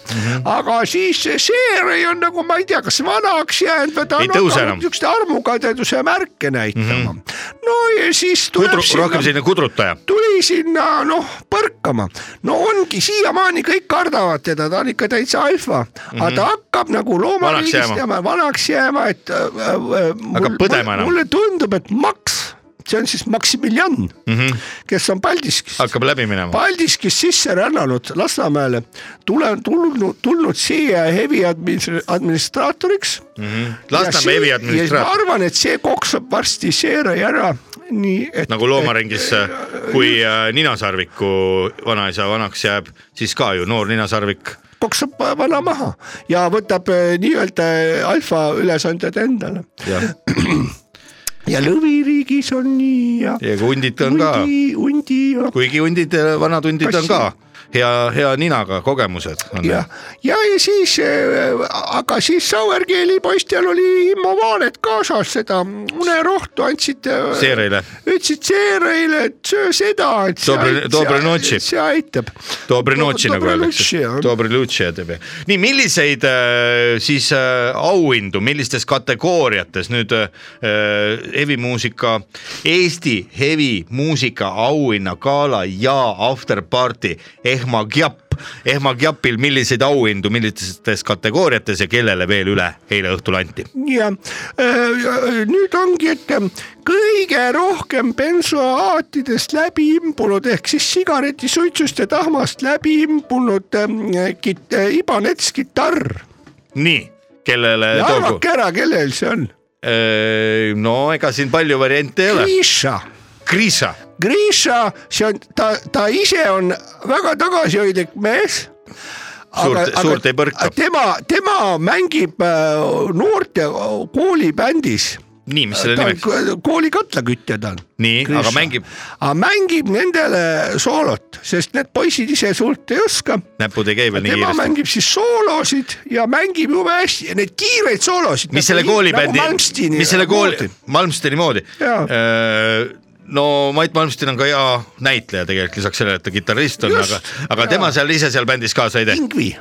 E: aga siis see seeria on nagu ma ei tea , kas vanaks jäänud või ta
D: Ei
E: on
D: tõuse enam.
E: hakanud siukseid armukadeduse märke näitama . no ja siis tuleb
D: Kudru , rohkem selline kudrutaja .
E: tuli sinna noh põrkama , no ongi siiamaani kõik kardavad teda , ta on ikka täitsa alfa mm , -hmm. aga ta hakkab
D: Mhm.
E: nagu
D: Vanaks
E: loomariigist
D: jääma.
E: jääma vanaks jääma , et äh, äh, mul,
D: Hakkab põdema enam.
E: mulle tundub , et Max , see on siis Maximilian mm ,
D: Mhm.
E: -hmm. kes on Paldiskis .
D: hakkab läbi minema .
E: Paldiskist sisse rännanud Lasnamäele , tule , tulnud , tulnud siia hevi admin- , administraatoriks mm . -hmm.
D: Mhm. Lasnamäe hevi administraator.
E: ma arvan , et see koksab varsti seerai ära , nii et
D: nagu loomaringis , kui äh, ninasarviku vanaisa vanaks jääb , siis ka ju noor ninasarvik .
E: koksab vana maha ja võtab eh, nii-öelda alfa ülesanded endale . ja lõviriigis on nii ja,
D: ja hundid on ka ,
E: hundi , hundi ja
D: kuigi hundid , vanad hundid on
E: Kassi.
D: ka hea , hea ninaga kogemused on
E: ja , ja , ja siis , aga siis Sauerkeeli poistel oli immovaanet kaasas , seda unerohtu andsid .
D: seereile .
E: ütlesid seereile , et söö seda , et see
D: Dobri-
E: ait-
D: Dobri
E: see-
D: notši.
E: see aitab .
D: Dobrinotši nagu öeldakse , Dobrinotši teeb jah . nii , milliseid äh, siis äh, auhindu , millistes kategooriates nüüd äh, hevimuusika , Eesti hevimuusika auhinna gala ja afterparty ehmakjapp , ehmakjapil milliseid auhindu , millistes kategooriates ja kellele veel üle eile õhtul anti ?
E: ja äh, nüüd ongi , et kõige rohkem bensoaatidest läbi imbunud ehk siis sigaretisuitsust ja tahmast läbi imbunud äh, kit- äh, Ibanez kitarr .
D: nii , kellele
E: ja
D: toogu Äh,
E: arvake ? ära , kellel see on .
D: no ega siin palju variante ei ole .
E: Grisha
D: Krisa ,
E: Grisha , see on ta , ta ise on väga tagasihoidlik mees .
D: Suurt- suurt ei põrka.
E: tema , tema mängib äh, noorte koolibändis .
D: nii , mis selle
E: Äh, ta
D: nimeks ,
E: on koolikatlakütja ta on .
D: nii , aga mängib ,
E: aga mängib nendele soolot , sest need poisid ise suurt ei oska .
D: näpud ei käi veel nii
E: tema
D: kiiresti .
E: mängib siis soolosid ja mängib jube hästi , neid kiireid soolosid . nagu
D: mis selle koolibändi , mis selle kooli , Malmsteini moodi Äh,
E: Jaa. .
D: no Mait Malmsten on ka hea näitleja tegelikult lisaks sellele , et ta kitarrist on ,
E: Just,
D: aga , aga tema seal ise seal bändis kaasa ei tee .
E: Ingvi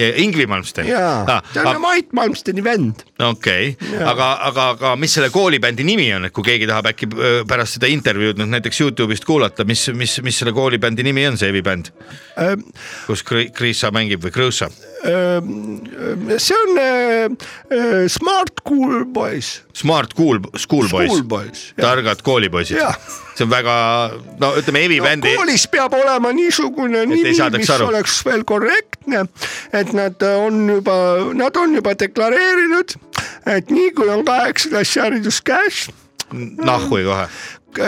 D: Ingvi Malmsten . Ah,
E: jaa , ta on Mait Malmsteni vend
D: okei , aga , aga , aga mis selle koolibändi nimi on , et kui keegi tahab äkki öö, pärast seda intervjuud nüüd näiteks Youtube'ist kuulata , mis , mis , mis selle koolibändi nimi on , see evibänd ,
E: Ähm,
D: kus Kri- Krista mängib või Krõõsa ,
E: see on äh, äh, Smart Cool Boys .
D: Smart Cool , Schoolboys
E: Cool , Boys .
D: targad koolipoisid
E: Jah. .
D: see on väga , no ütleme , evibändi no,
E: koolis peab olema niisugune nimi ,
D: saadaks
E: mis
D: aru.
E: aru. oleks veel korrektne , et nad on juba , nad on juba deklareerinud , et nii kui on kaheksa klassi haridus käes ,
D: nahhui kohe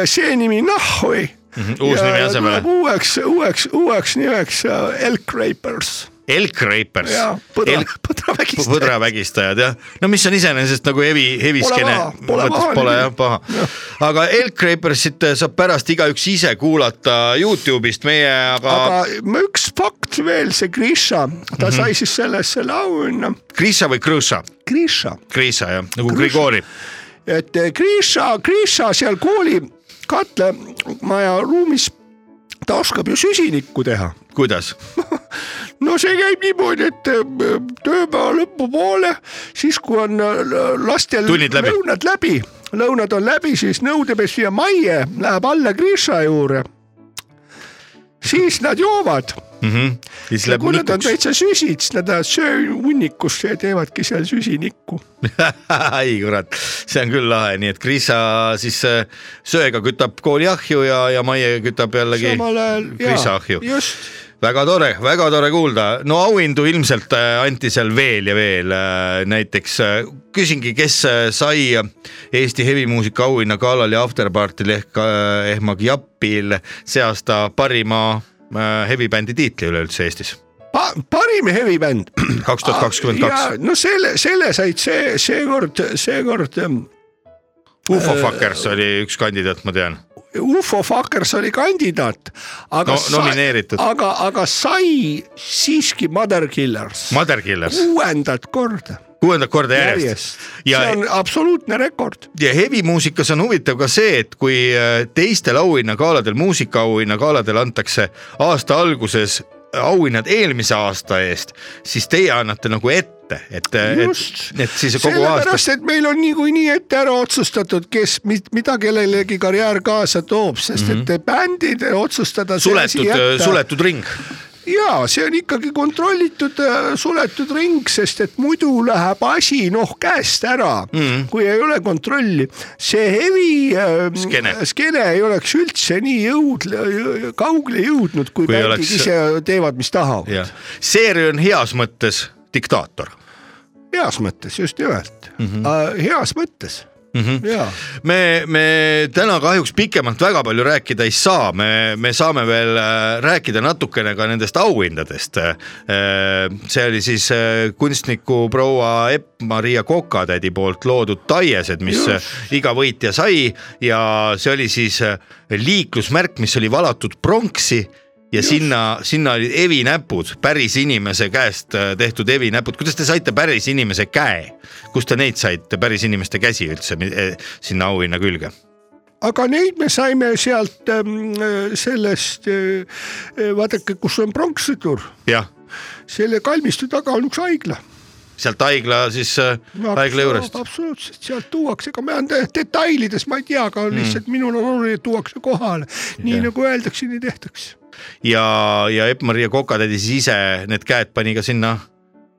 E: see nimi nahhui mm .
D: Mhm, uus nimi asemele.
E: uueks , uueks , uueks nimeks äh, Elk Rapers
D: Elk Rapers
E: ja , põdra
D: Elk ,
E: põdravägistajad .
D: põdravägistajad jah , no mis on iseenesest nagu hevi , heviskene
E: paha, pole paha
D: pole
E: nimi.
D: jah paha . aga Elk Rapersit saab pärast igaüks ise kuulata Youtube'ist , meie aga, aga...
E: aga üks fakt veel , see Grisha , ta mm
D: Mhm.
E: -hmm. sai siis sellest selle auhinna
D: Krisa või Krõsa ,
E: Grisha ,
D: Krisa jah , nagu Grigori .
E: et Grisha , Grisha seal kooli katlemaja ruumis , ta oskab ju süsinikku teha .
D: kuidas ?
E: no see käib niimoodi , et äh, tööpäeva lõpupoole , siis kui on äh, lastel
D: Tunnid läbi.
E: lõunad läbi , lõunad on läbi , siis nõudepesija Maie läheb alla Grisha juurde . siis nad joovad
D: siis
E: ja
D: läheb
E: kui nad on
D: nutuks .
E: täitsa süsid , siis nad lähevad sööhunnikusse ja teevadki seal süsinikku .
D: ai kurat , see on küll lahe , nii et Krisa siis äh, söega kütab kooli ahju ja , ja Maie kütab jällegi
E: samal ajal ,
D: Krisa ahju .
E: just ,
D: väga tore , väga tore kuulda , no auhindu ilmselt äh, anti seal veel ja veel , näiteks äh, küsingi , kes äh, sai Eesti hevimuusika auhinna galal ja afterparty'l ehk äh, ehmagi Japil see aasta parima äh, hevibändi tiitli üleüldse Eestis ,
E: pa- , parim hevibänd .
D: kaks tuhat kakskümmend kaks ,.
E: no selle , selle said see , seekord , seekord ähm,
D: Ufo Fuckers oli üks kandidaat , ma tean ,
E: Ufo Fuckers oli kandidaat , aga
D: No- nomineeritud.
E: aga , aga sai siiski Mother Killers .
D: Mother Killers ,
E: kuuendat korda
D: kuuendat korda järjest .
E: järjest ,
D: Ja-
E: see on absoluutne rekord .
D: ja hevimuusikas on huvitav ka see , et kui äh, teistel auhinnagaladel , muusikaauhinnagaladel antakse aasta alguses auhinnad eelmise aasta eest , siis teie annate nagu ette , et , et,
E: Just.
D: et siis kogu aasta
E: sellepärast , et meil on niikuinii ette ära otsustatud , kes , mida kellelegi
D: Mhm.
E: karjäär kaasa toob , sest mm -hmm. et bändid otsustada .
D: äh, suletud , suletud ring .
E: ja see on ikkagi kontrollitud äh, suletud ring , sest et muidu läheb asi noh käest ära
D: Mhm.
E: mm. , kui ei ole kontrolli . see hevi äh,
D: Skene.
E: skene ei oleks üldse nii jõud- , kaugele jõudnud ,
D: Kui
E: kui, kui bändid
D: oleks-
E: oleks... ise teevad , mis tahavad .
D: jah , Seeri on heas mõttes diktaator
E: heas mõttes , just nimelt mm ,
D: Mhm.
E: -hmm. heas mõttes mm . -hmm. ja
D: me , me täna kahjuks pikemalt väga palju rääkida ei saa , me , me saame veel äh, rääkida natukene ka nendest auhindadest . see oli siis äh, kunstniku proua Epp-Maria Kokatädi poolt loodud taiesed , mis äh, iga võitja sai ja see oli siis äh, liiklusmärk , mis oli valatud pronksi ja Just. sinna , sinna olid evinäpud , päris inimese käest äh, tehtud evinäpud , kuidas te saite päris inimese käe , kust te neid saite , päris inimeste käsi üldse mi- eh, sinna auhinna külge ?
E: aga neid me saime sealt ähm, sellest , vaadake , kus on pronkssõdur ,
D: jah ,
E: selle kalmistu taga on üks haigla .
D: sealt haigla siis äh, haigla juurest ,
E: absoluutselt , sealt tuuakse , ega ma olen tä- detailides , ma ei tea , aga mm. lihtsalt minul on oluline , et tuuakse kohale , nii
D: Hmm. Jah.
E: ja. nagu öeldakse , nii tehtakse .
D: ja , ja Epp-Maria Kokatädi siis ise need käed pani ka sinna ,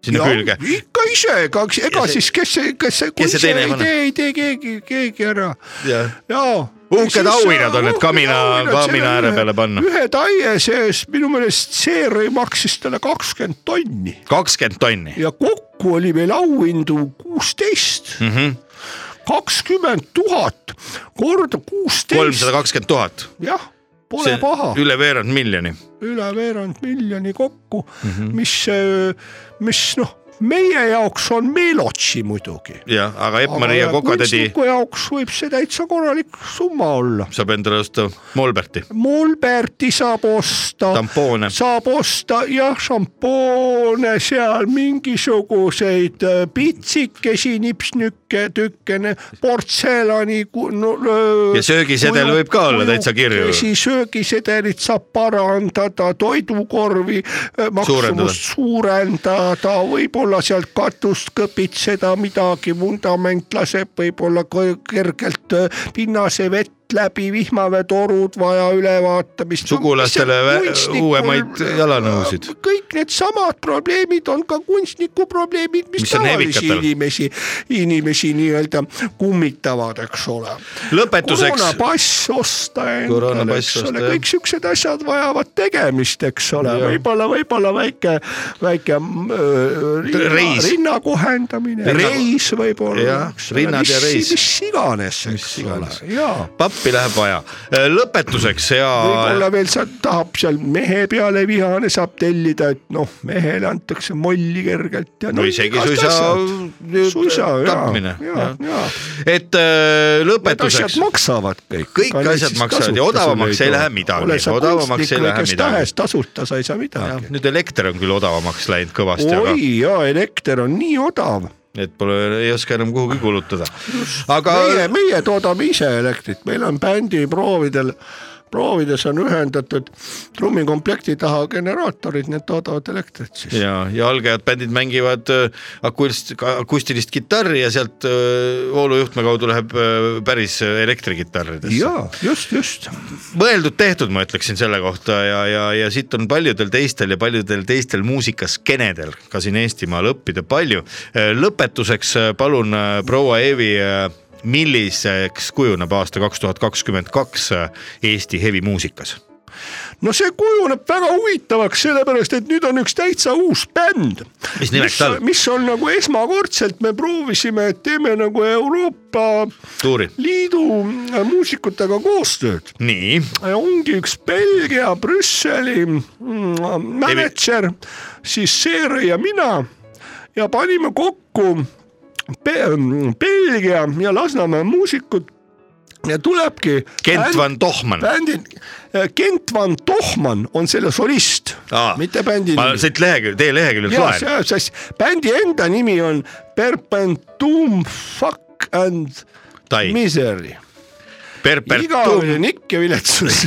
D: sinna külge .
E: ikka ise , ega , ega
D: Ja see-
E: see, siis kes see , kes see ,
D: kes
E: kui
D: see
E: ise
D: teine
E: ei
D: paneb?
E: tee , ei tee keegi , keegi ära
D: Jah.
E: jaa .
D: Uhked auhinnad on need kamina- kamina ääre peale panna.
E: ühe taie sees minu meelest seeri maksis talle kakskümmend tonni
D: kakskümmend tonni ,
E: ja kokku oli meil auhindu kuusteist mm
D: Mhm.
E: -hmm. kakskümmend tuhat korda kuusteist
D: kolmsada , kakskümmend tuhat ,
E: jah , pole
D: see
E: See... paha ,
D: üle veerand miljoni .
E: üle veerand miljoni kokku
D: Mhm.
E: mm , -hmm. mis , mis noh , meie jaoks on melotsi muidugi .
D: jah , aga Epp-Maria Kokatädi
E: kunstniku jaoks võib see täitsa korralik summa olla .
D: saab endale osta Molberti .
E: Mulberti saab osta ,
D: Tampoone.
E: saab osta jah , šampoone seal mingisuguseid äh, pitsikesi , nipsnükke , tükene , portselani . äh,
D: Ja söögisedel võib ka olla täitsa kirju.
E: söögisedelit saab parandada , toidukorvi äh, maksumust suurendada, suurendada , võib-olla sealt katust kõpitseda midagi , vundament laseb võib-olla kõ- kergelt äh, pinnase vett läbi vihmaveetorud vaja üle vaatamist .
D: Sugulastele vä- uuemaid jalanõusid.
E: kõik needsamad probleemid on ka kunstniku probleemid , mis,
D: Mis
E: mis
D: on
E: tavalisi
D: hevikatel.
E: inimesi , inimesi nii-öelda kummitavad , eks ole .
D: lõpetuseks ,
E: koroonapass osta endale ,
D: Koroonapass
E: eks
D: osta,
E: ole ,
D: jah.
E: kõik siuksed asjad vajavad tegemist , eks ole ,
D: Jah.
E: võib-olla , võib-olla väike , väike öö, rinna,
D: Reis.
E: rinna kohendamine ,
D: Rinna-
E: reis võib-olla
D: Jah, . rinnad ja reis.
E: mis iganes , eks ole ,
D: iganes.
E: jaa
D: pappi läheb vaja . lõpetuseks ja
E: võib-olla veel sa tahab seal mehe peale vihane , saab tellida , et noh , mehele antakse molli kergelt ja .
D: no isegi suisa ,
E: suisa
D: tapmine
E: ja ,. ja , ja .
D: et äh,
E: Need asjad
D: lõpetuseks ,
E: maksavad kõik .
D: Kõik asjad maksavad ja odavamaks ei lähe midagi.
E: ole sa
D: Odavamaks ei
E: kunstnik või
D: lähe
E: kes
D: midagi.
E: tahes , tasuta sa ei saa midagi .
D: nüüd elekter on küll odavamaks läinud kõvasti , aga
E: oi ja elekter on nii odav ,
D: et pole , ei oska enam kuhugi kulutada . aga
E: meie , meie toodame ise elektrit , meil on bändi proovidel proovides on ühendatud trummikomplekti taha generaatorid , need toodavad elektrit siis .
D: ja , ja algajad bändid mängivad äh, akustilist , akustilist kitarri ja sealt äh, voolujuhtme kaudu läheb äh, päris elektrikitarridesse .
E: ja just , just .
D: mõeldud-tehtud , ma ütleksin selle kohta ja , ja , ja siit on paljudel teistel ja paljudel teistel muusikaskenedel ka siin Eestimaal õppida palju . lõpetuseks äh, palun äh, proua Eevi , milliseks kujuneb aasta kaks tuhat kakskümmend kaks äh, Eesti hevimuusikas ?
E: no see kujuneb väga huvitavaks , sellepärast et nüüd on üks täitsa uus bänd .
D: Mis nimeks ta on?
E: mis on nagu esmakordselt me proovisime , et teeme nagu Euroopa
D: tuuri .
E: Liidu äh, muusikutega koostööd .
D: nii ,
E: ongi üks Belgia Brüsseli mm, mänedžer , siis Seeri ja mina ja panime kokku Be Belgia ja Lasnamäe muusikud ja tulebki .
D: Kent van Tohman .
E: bändi , äh, Kent Van Tohman on selle solist , mitte bändi
D: ma
E: nimi .
D: siit lehekülg , teie leheküljelt
E: ja
D: loen .
E: see , sest bändi enda nimi on Perpentum Fuck and
D: Tai.
E: Misery . igavene
D: Perpetuum ,
E: nikk ja viletsus ,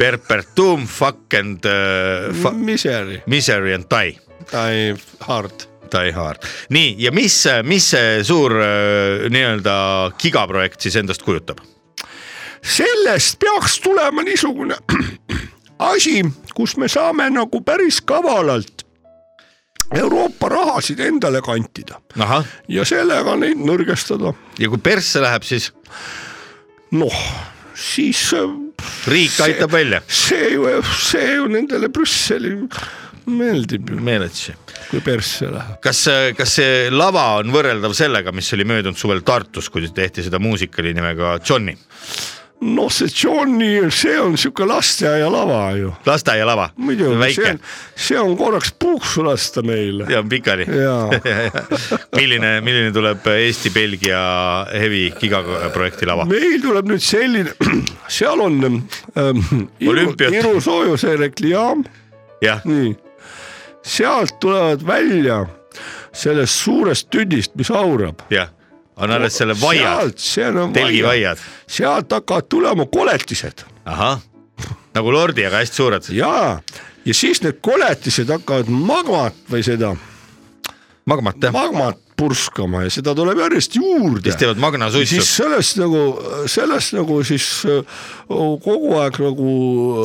D: Perpetuum fuck and äh, fa-
E: Misery ,
D: misery and die ,
E: Die Hard .
D: die hard . nii , ja mis , mis see suur äh, nii-öelda gigaprojekt siis endast kujutab ?
E: sellest peaks tulema niisugune asi , kus me saame nagu päris kavalalt Euroopa rahasid endale kantida
D: ahah ,
E: ja sellega neid nõrgestada .
D: ja kui persse läheb , siis
E: noh , siis äh,
D: riik aitab välja .
E: see ju , see ju nendele Brüsseli meeldib ju ,
D: meeletši .
E: kui persse läheb .
D: kas , kas see lava on võrreldav sellega , mis oli möödunud suvel Tartus , kui tehti seda muusikali nimega Johnny ,
E: noh , see Johnny , see on sihuke lasteaialava ju .
D: lasteaialava ,
E: muidugi , see
D: väike
E: on , see on korraks puuks lasta meile .
D: ja on pikali .
E: jaa ,
D: milline , milline tuleb Eesti-Belgia heavy gigaprojekti lava ?
E: meil tuleb nüüd selline , seal on ähm, Iru,
D: Olümpiat.
E: Iru soojuselektrijaam ,
D: jah ,
E: nii . sealt tulevad välja sellest suurest tüdist , mis haurab .
D: jah , on alles selle vaiad ,
E: sealt , seal on vaia ,
D: telgivaiad ,
E: sealt hakkavad tulema koletised
D: ahah , nagu lordi , aga hästi suured .
E: ja , ja siis need koletised hakkavad magmat või seda
D: magmat jah ,
E: magmat purskama ja seda tuleb järjest juurde
D: kes . teevad magnasuitsu
E: siis , sellest nagu , sellest nagu siis äh, kogu aeg nagu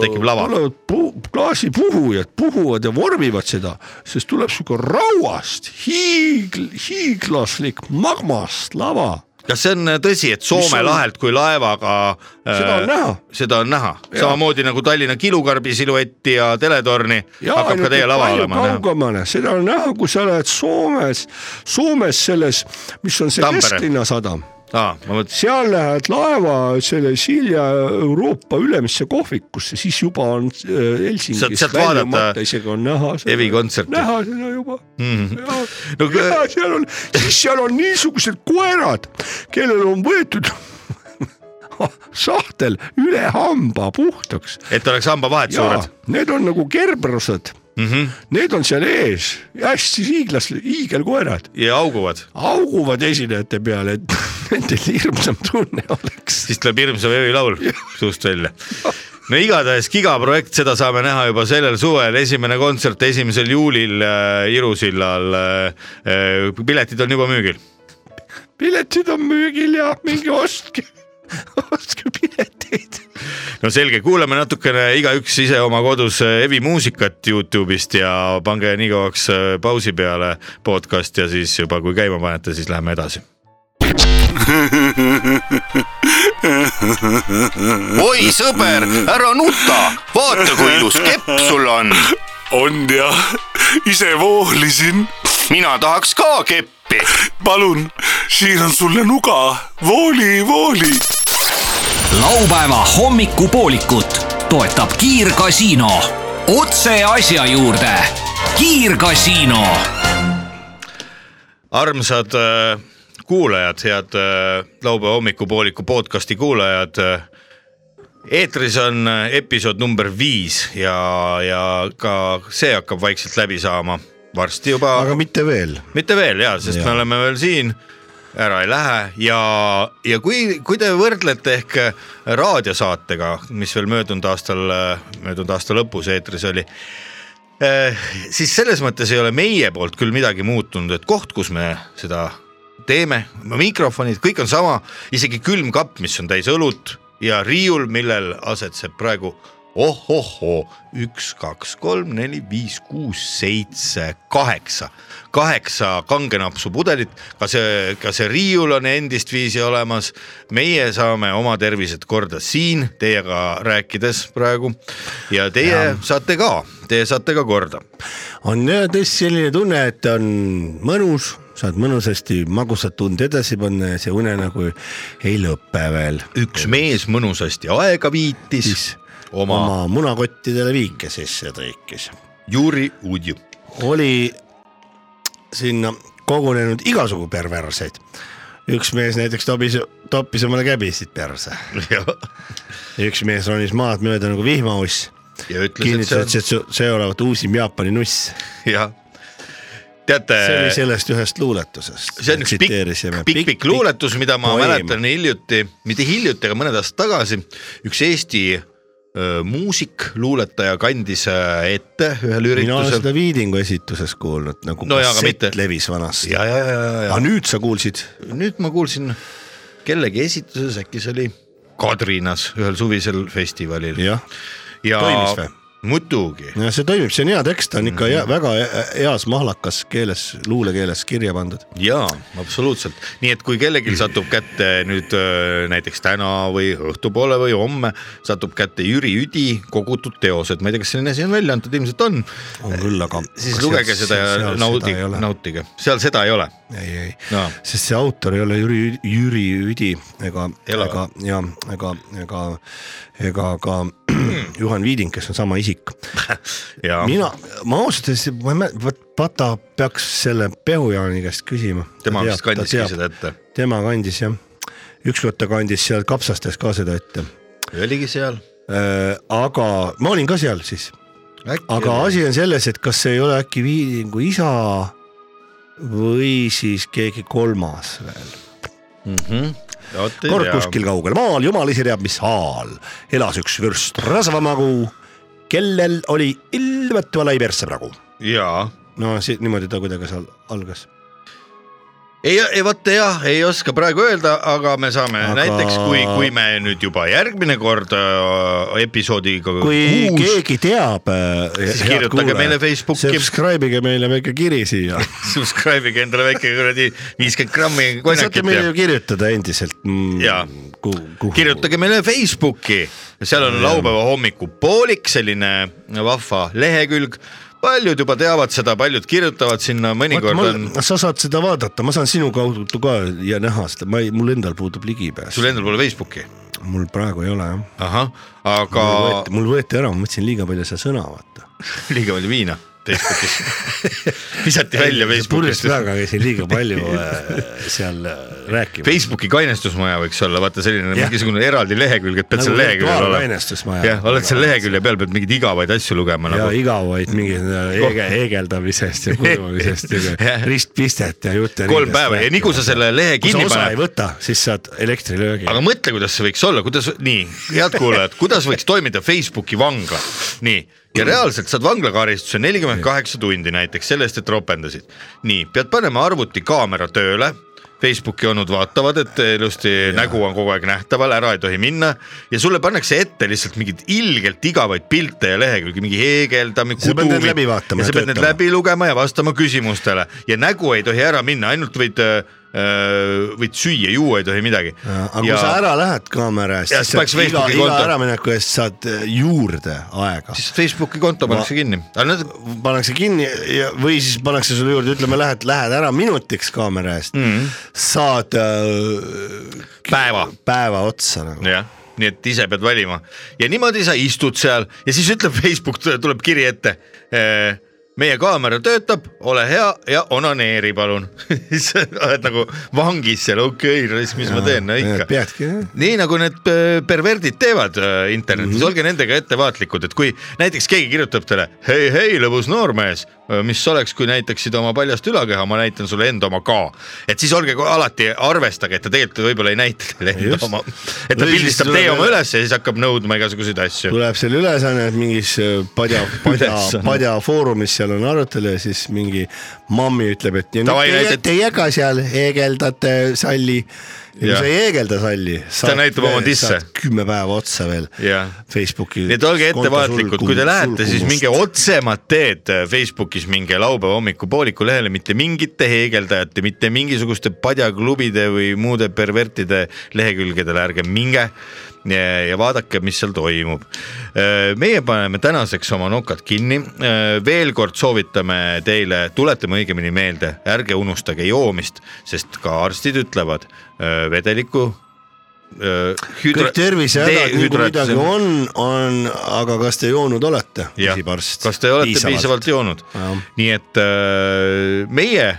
D: Tekib lava.
E: tulevad pu- klaasipuhujad puhuvad ja vormivad seda , sest tuleb sihuke rauast hiigl- , hiiglaslik magmast lava ,
D: kas see on tõsi , et Soome
E: Mis on-
D: lahelt kui laevaga äh,
E: seda on näha .
D: seda on näha , samamoodi nagu Tallinna kilukarbi siluetti ja teletorni hakkab ka teie lava olema näha .
E: kaugemale , seda on näha , kui sa lähed Soomes , Soomes selles , mis on see
D: Tampere.
E: kesklinna sadam ,
D: aa , ma mõtlesin ,
E: seal lähed laeva selle Silja Euroopa ülemisse kohvikusse , siis juba on äh,
D: Sealt-
E: Helsingist
D: sealt vaadata
E: väljumata isegi on näha .
D: Evi kontserti. Mhm.
E: näha seda juba mm. .
D: No
E: No,
D: kõ-
E: ja seal on , siis seal on niisugused koerad , kellel on võetud sahtel üle hamba puhtaks
D: et oleks hambavahed
E: jaa
D: suured ,. Mhm.
E: need on nagu kerbrused mm , -hmm. need on seal ees , hästi hiiglas , hiigelkoerad ,
D: ja auguvad ,
E: auguvad esinejate peale , et nendel hirmsam tunne oleks .
D: siis tuleb hirmsam öölaul suust välja . no igatahes gigaprojekt , seda saame näha juba sellel suvel , esimene kontsert esimesel juulil äh, Iru sillal äh, . Äh, piletid on juba müügil .
E: piletid on müügil ja minge ostke , ostke pileteid .
D: no selge , kuulame natukene igaüks ise oma kodus äh, Evi muusikat Youtube'ist ja pange nii kauaks äh, pausi peale podcast ja siis juba , kui käima panete , siis läheme edasi .
I: oi sõber , ära nuta , vaata kui ilus kepp sul on .
B: on jah , ise voolisin .
I: mina tahaks ka keppi .
B: palun , siin on sulle nuga , vooli , vooli .
C: laupäeva hommikupoolikut toetab Kiirgasiino . otse asja juurde . kiirgasiino .
D: armsad äh, kuulajad , head äh, laupäeva hommikupooliku podcasti kuulajad . eetris on äh, episood number viis ja , ja ka see hakkab vaikselt läbi saama varsti juba .
J: aga mitte veel .
D: mitte veel ja , sest ja. me oleme veel siin , ära ei lähe ja , ja kui , kui te võrdlete ehk äh, raadiosaatega , mis veel möödunud aastal , möödunud aasta lõpus eetris oli . siis selles mõttes ei ole meie poolt küll midagi muutunud , et koht , kus me seda teeme , mikrofonid , kõik on sama , isegi külmkapp , mis on täis õlut ja riiul , millel asetseb praegu ohohoo , üks , kaks , kolm , neli , viis , kuus , seitse , kaheksa , kaheksa kangenapsu pudelit , ka see , ka see riiul on endist viisi olemas . meie saame oma tervised korda siin teiega rääkides praegu ja teie ja. saate ka , teie saate ka korda .
J: on jah tõesti selline tunne , et on mõnus , saad mõnusasti magusat und edasi panna ja see unenägu ei lõpe veel .
D: üks mees mõnusasti aega viitis
J: Siis
D: oma, oma.
J: oma munakottidele viike sisse tõikis .
D: Juri Udju .
J: oli sinna kogunenud igasugu perverseid . üks mees näiteks tobis , toppis omale käbisid perse .
D: ja
J: üks mees ronis maad mööda nagu vihmauss .
D: ja ütles ,
J: kinnitas , et
D: et see
J: see , see olevat uusim Jaapani nuss .
D: on jah , teate
J: see oli sellest ühest luuletusest .
D: Äh, see on üks pikk , pikk , pikk luuletus , mida ma
J: poeem.
D: mäletan hiljuti , mitte hiljuti , aga mõned aastad tagasi üks Eesti öö, muusik , luuletaja kandis öö, ette
J: mina
D: ühel
J: olen
D: üritusel .
J: seda Viidingu esituses kuulnud nagu
D: No jaa, aga
J: kassett
D: mitte-
J: levis vanasti .
D: ja , ja , ja , ja , ja
J: aga nüüd sa kuulsid ?
D: nüüd ma kuulsin kellegi esituses , äkki see oli Kadrinas ühel suvisel festivalil
J: jah ,
D: ja
J: toimis või ?
D: muidugi ,
E: ja see toimib , see on hea tekst , ta on
D: Mm.
E: ikka hea, väga he- heas mahlakas keeles , luulekeeles kirja pandud .
D: jaa , absoluutselt , nii et kui kellelgi satub kätte nüüd öö, näiteks täna või õhtupoole või homme satub kätte Jüri Üdi kogutud teosed , ma ei tea , kas selline asi on välja antud , ilmselt on ,
E: on küll , aga .
D: Eh, siis lugege seda ja naudige , nautige , seal seda ei ole .
E: ei , ei
D: No.
E: no. , sest see autor ei ole Jüri , Jüri Üdi ega ,
D: Ela.
E: ega ja ega , ega , ega ka Juhan Viiding , kes on sama isik .
D: ja
E: mina , ma ausalt öeldes , ma ei mäleta , vot Pata peaks selle Pehujaani käest küsima .
D: tema vist kandiski seda . ette ,
E: tema kandis jah , ükskord ta kandis seal kapsastes ka seda ette .
D: oligi seal .
E: aga ma olin ka seal siis , aga asi on selles , et kas see ei ole äkki Viidingu isa või siis keegi kolmas veel . kord kuskil kaugel maal , jumal ise teab , mis haal , elas üks vürst rasvamagu , kellel oli ilmetu lai persepragu .
D: jaa
E: no see niimoodi ta kuidagi seal algas .
D: ei , ei vot jah , ei oska praegu öelda , aga me saame aga...
E: Aga-
D: näiteks , kui , kui me nüüd juba järgmine kord äh, episoodiga
E: kui Uus.
D: kuus
E: keegi teab , äh,
D: Siis kirjutage meile Facebooki.
E: subscribe ige meile väike kiri siia .
D: subscribe ige endale väike kuradi viiskümmend grammi
E: saate
D: konjakit
E: meile
D: ja
E: ju kirjutada endiselt mm,
D: Jaa.
E: kuhu, kuhu.
D: kirjutage meile Facebooki , seal on laupäeva hommikupoolik , selline vahva lehekülg paljud juba teavad seda , paljud kirjutavad sinna , mõnikord
E: Vaata,
D: on
E: ma, sa saad seda vaadata , ma saan sinu kaudu ka ja näha seda , ma ei , mul endal puudub ligipääs
D: sul . endal pole Facebooki ,
E: mul praegu ei ole jah .
D: ahah , aga
E: mul võeti , mul võeti ära , ma võtsin liiga palju seda sõna , vaata .
D: liiga palju viina Facebookis visati välja
E: purjus
D: Facebookist .
E: peaga käisin liiga palju äh, seal äh, rääkimas .
D: Facebooki kainestusmaja võiks olla , vaata selline
E: Jah.
D: mingisugune eraldi lehekülg , et pead
E: Nagu
D: seal leheküljel olema .
E: virtuaalkainestusmaja.
D: jah , oled seal lehekülje peal , pead mingeid igavaid asju lugema
E: ja
D: nagu .
E: igavaid mingi heege, heegeldamisest ja kuivamisest ja
D: Jah.
E: ristpistet ja jutte .
D: kolm päeva ja nii kui sa selle lehe
E: kui sa
D: kinni
E: osa ei
D: paned ,
E: võta , siis saad elektrilöögi .
D: aga mõtle , kuidas see võiks olla , kuidas , nii , head kuulajad , kuidas võiks toimida Facebooki vangla , nii ja reaalselt saad vanglakaristuse nelikümmend kaheksa tundi näiteks sellest , et ropendasid . nii , pead panema arvutikaamera tööle . Facebooki onud vaatavad , et ilusti ja. nägu on kogu aeg nähtaval , ära ei tohi minna ja sulle pannakse ette lihtsalt mingeid ilgelt igavaid pilte ja lehekülgi , mingi heegeldamine ,
E: Sa pead need läbi vaatama
D: ja sa
E: ja
D: pead need
E: töötama.
D: läbi lugema ja vastama küsimustele ja nägu ei tohi ära minna , ainult võid , võid süüa , juua ei tohi midagi .
E: aga kui sa ära lähed kaamera eest ,
D: Ja
E: siis
D: siis paneks
E: saad iga ,
D: Facebooki
E: iga
D: konto.
E: äramineku eest saad äh, juurde aega .
D: siis Facebooki konto pannakse
E: Ma-
D: kinni , aga nad ,
E: pannakse kinni ja , või siis pannakse sulle juurde , ütleme , lähed , lähed ära minutiks kaamera eest mm. , saad äh,
D: Mhm. Päeva.
E: päeva otsa nagu .
D: jah , nii et ise pead valima ja niimoodi sa istud seal ja siis ütleb Facebook , tuleb kiri ette . meie kaamera töötab , ole hea ja onaneeri , palun . siis sa oled nagu vangis seal , okei okay, , mis ma teen , no ikka .
E: peadki, jah.
D: nii nagu need äh, perverdid teevad äh, internetis
E: Mhm.
D: mm , -hmm. olge nendega ettevaatlikud , et kui näiteks keegi kirjutab teile hei , hei , lõbus noormees , mis oleks , kui näitaksid oma paljast ülakeha , ma näitan sulle enda oma ka . et siis olge ko- alati , arvestage , et ta tegelikult võib-olla ei näita teile enda
E: Just.
D: oma , et ta
E: Või siis
D: pildistab
E: tuleb
D: teie oma
E: jälle-
D: üles ja siis hakkab nõudma igasuguseid asju .
E: tuleb selle ülesanne , et mingis äh, padja , padja
D: Ülesanne. ,
E: padja foorumis seal on arutelu ja siis mingi mammi ütleb , et ja nüüd
D: Davai,
E: teie,
D: näitab-
E: teie ka seal heegeldate salli . ja kui
D: Jah.
E: sa ei heegelda salli .
D: näitab oma disse.
E: kümme päeva otsa veel
D: Jah.
E: Facebooki .
D: nii et olge ettevaatlikud , kui te lähete , siis minge otsemat teed äh, Facebookis , minge laupäeva hommikupooliku lehele , mitte mingite heegeldajate , mitte mingisuguste padjaklubide või muude pervertide lehekülgedele , ärge minge ja, ja vaadake , mis seal toimub . meie paneme tänaseks oma nokad kinni , veel kord soovitame teile , tuletame õigemini meelde , ärge unustage joomist , sest ka arstid ütlevad äh, vedeliku äh, hüdra-
E: kõik tervisehädad , kui midagi
D: dehüdratsioon-
E: on , on , aga kas te joonud olete ,
D: Jah.
E: küsib arst .
D: kas te olete piisavalt, piisavalt joonud
E: Jah. ?
D: nii et äh, meie ,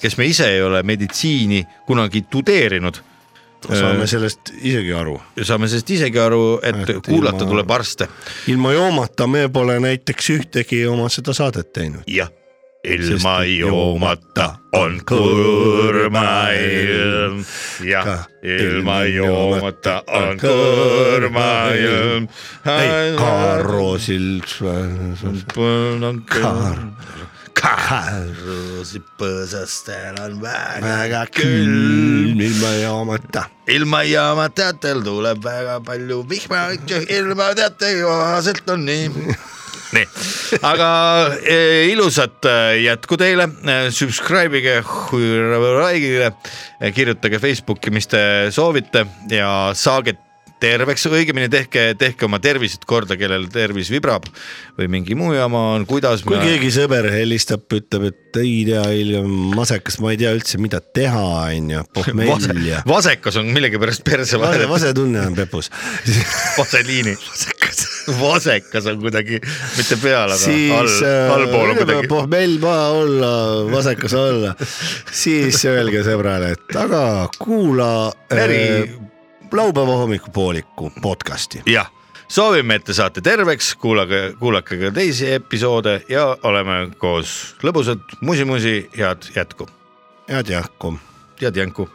D: kes me ise ei ole meditsiini kunagi tudeerinud , äh,
E: saame sellest isegi aru .
D: saame sellest isegi aru , et
E: Et
D: kuulata
E: ilma-
D: tuleb arste .
E: ilma joomata me pole näiteks ühtegi oma seda saadet teinud .
D: jah , ilma
E: Sest et
D: joomata on kurma ilm , jah
E: Ka ,
D: ilma joomata on kurma ilm .
E: ei , Karosil .
D: Kaar .
E: Karosi põõsastel on väga külm ilma joomata .
D: ilma jaama teatel tuleb väga palju vihma , ilma teate kohaselt on nii . nii , aga eh, ilusat eh, jätku teile , subscribe ige , E, kirjutage Facebooki , mis te soovite ja saage terveks , õigemini tehke , tehke oma tervised korda , kellel tervis vibrab või mingi muu jama on , kuidas .
E: kui keegi sõber helistab , ütleb , et ei tea , hiljem masekas , ma ei tea üldse , mida teha , onju , pohmell ja
D: vasekas on millegipärast perse
E: vase ,
D: vahel ,
E: vasetunne on pepus .
D: vaseliini . vasekas on kuidagi , mitte peal , aga all
E: siis , äh,
D: allpool on kuidagi .
E: pohmell maha olla , vasekas olla , siis öelge sõbrale , et aga kuula
D: Äri-
E: äh, laupäeva hommikupooliku podcast'i .
D: jah , soovime , et te saate terveks , kuulage , kuulake ka teisi episoode ja oleme koos lõbusad , musi-musi , head jätku ,
E: head jahku ,
D: head jänku .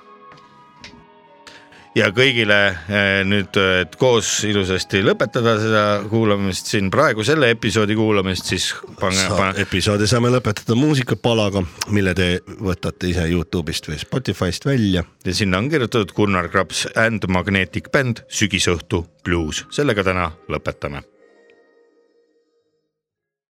D: ja kõigile eh, nüüd , et koos ilusasti lõpetada seda kuulamist siin praegu selle episoodi kuulamist , siis pange , pange ,
E: episoodi saame lõpetada muusikapalaga , mille te võtate ise Youtube'ist või Spotify'st välja
D: ja sinna on kirjutatud Gunnar Graps and Magnetic Band sügisõhtu bluus , sellega täna lõpetame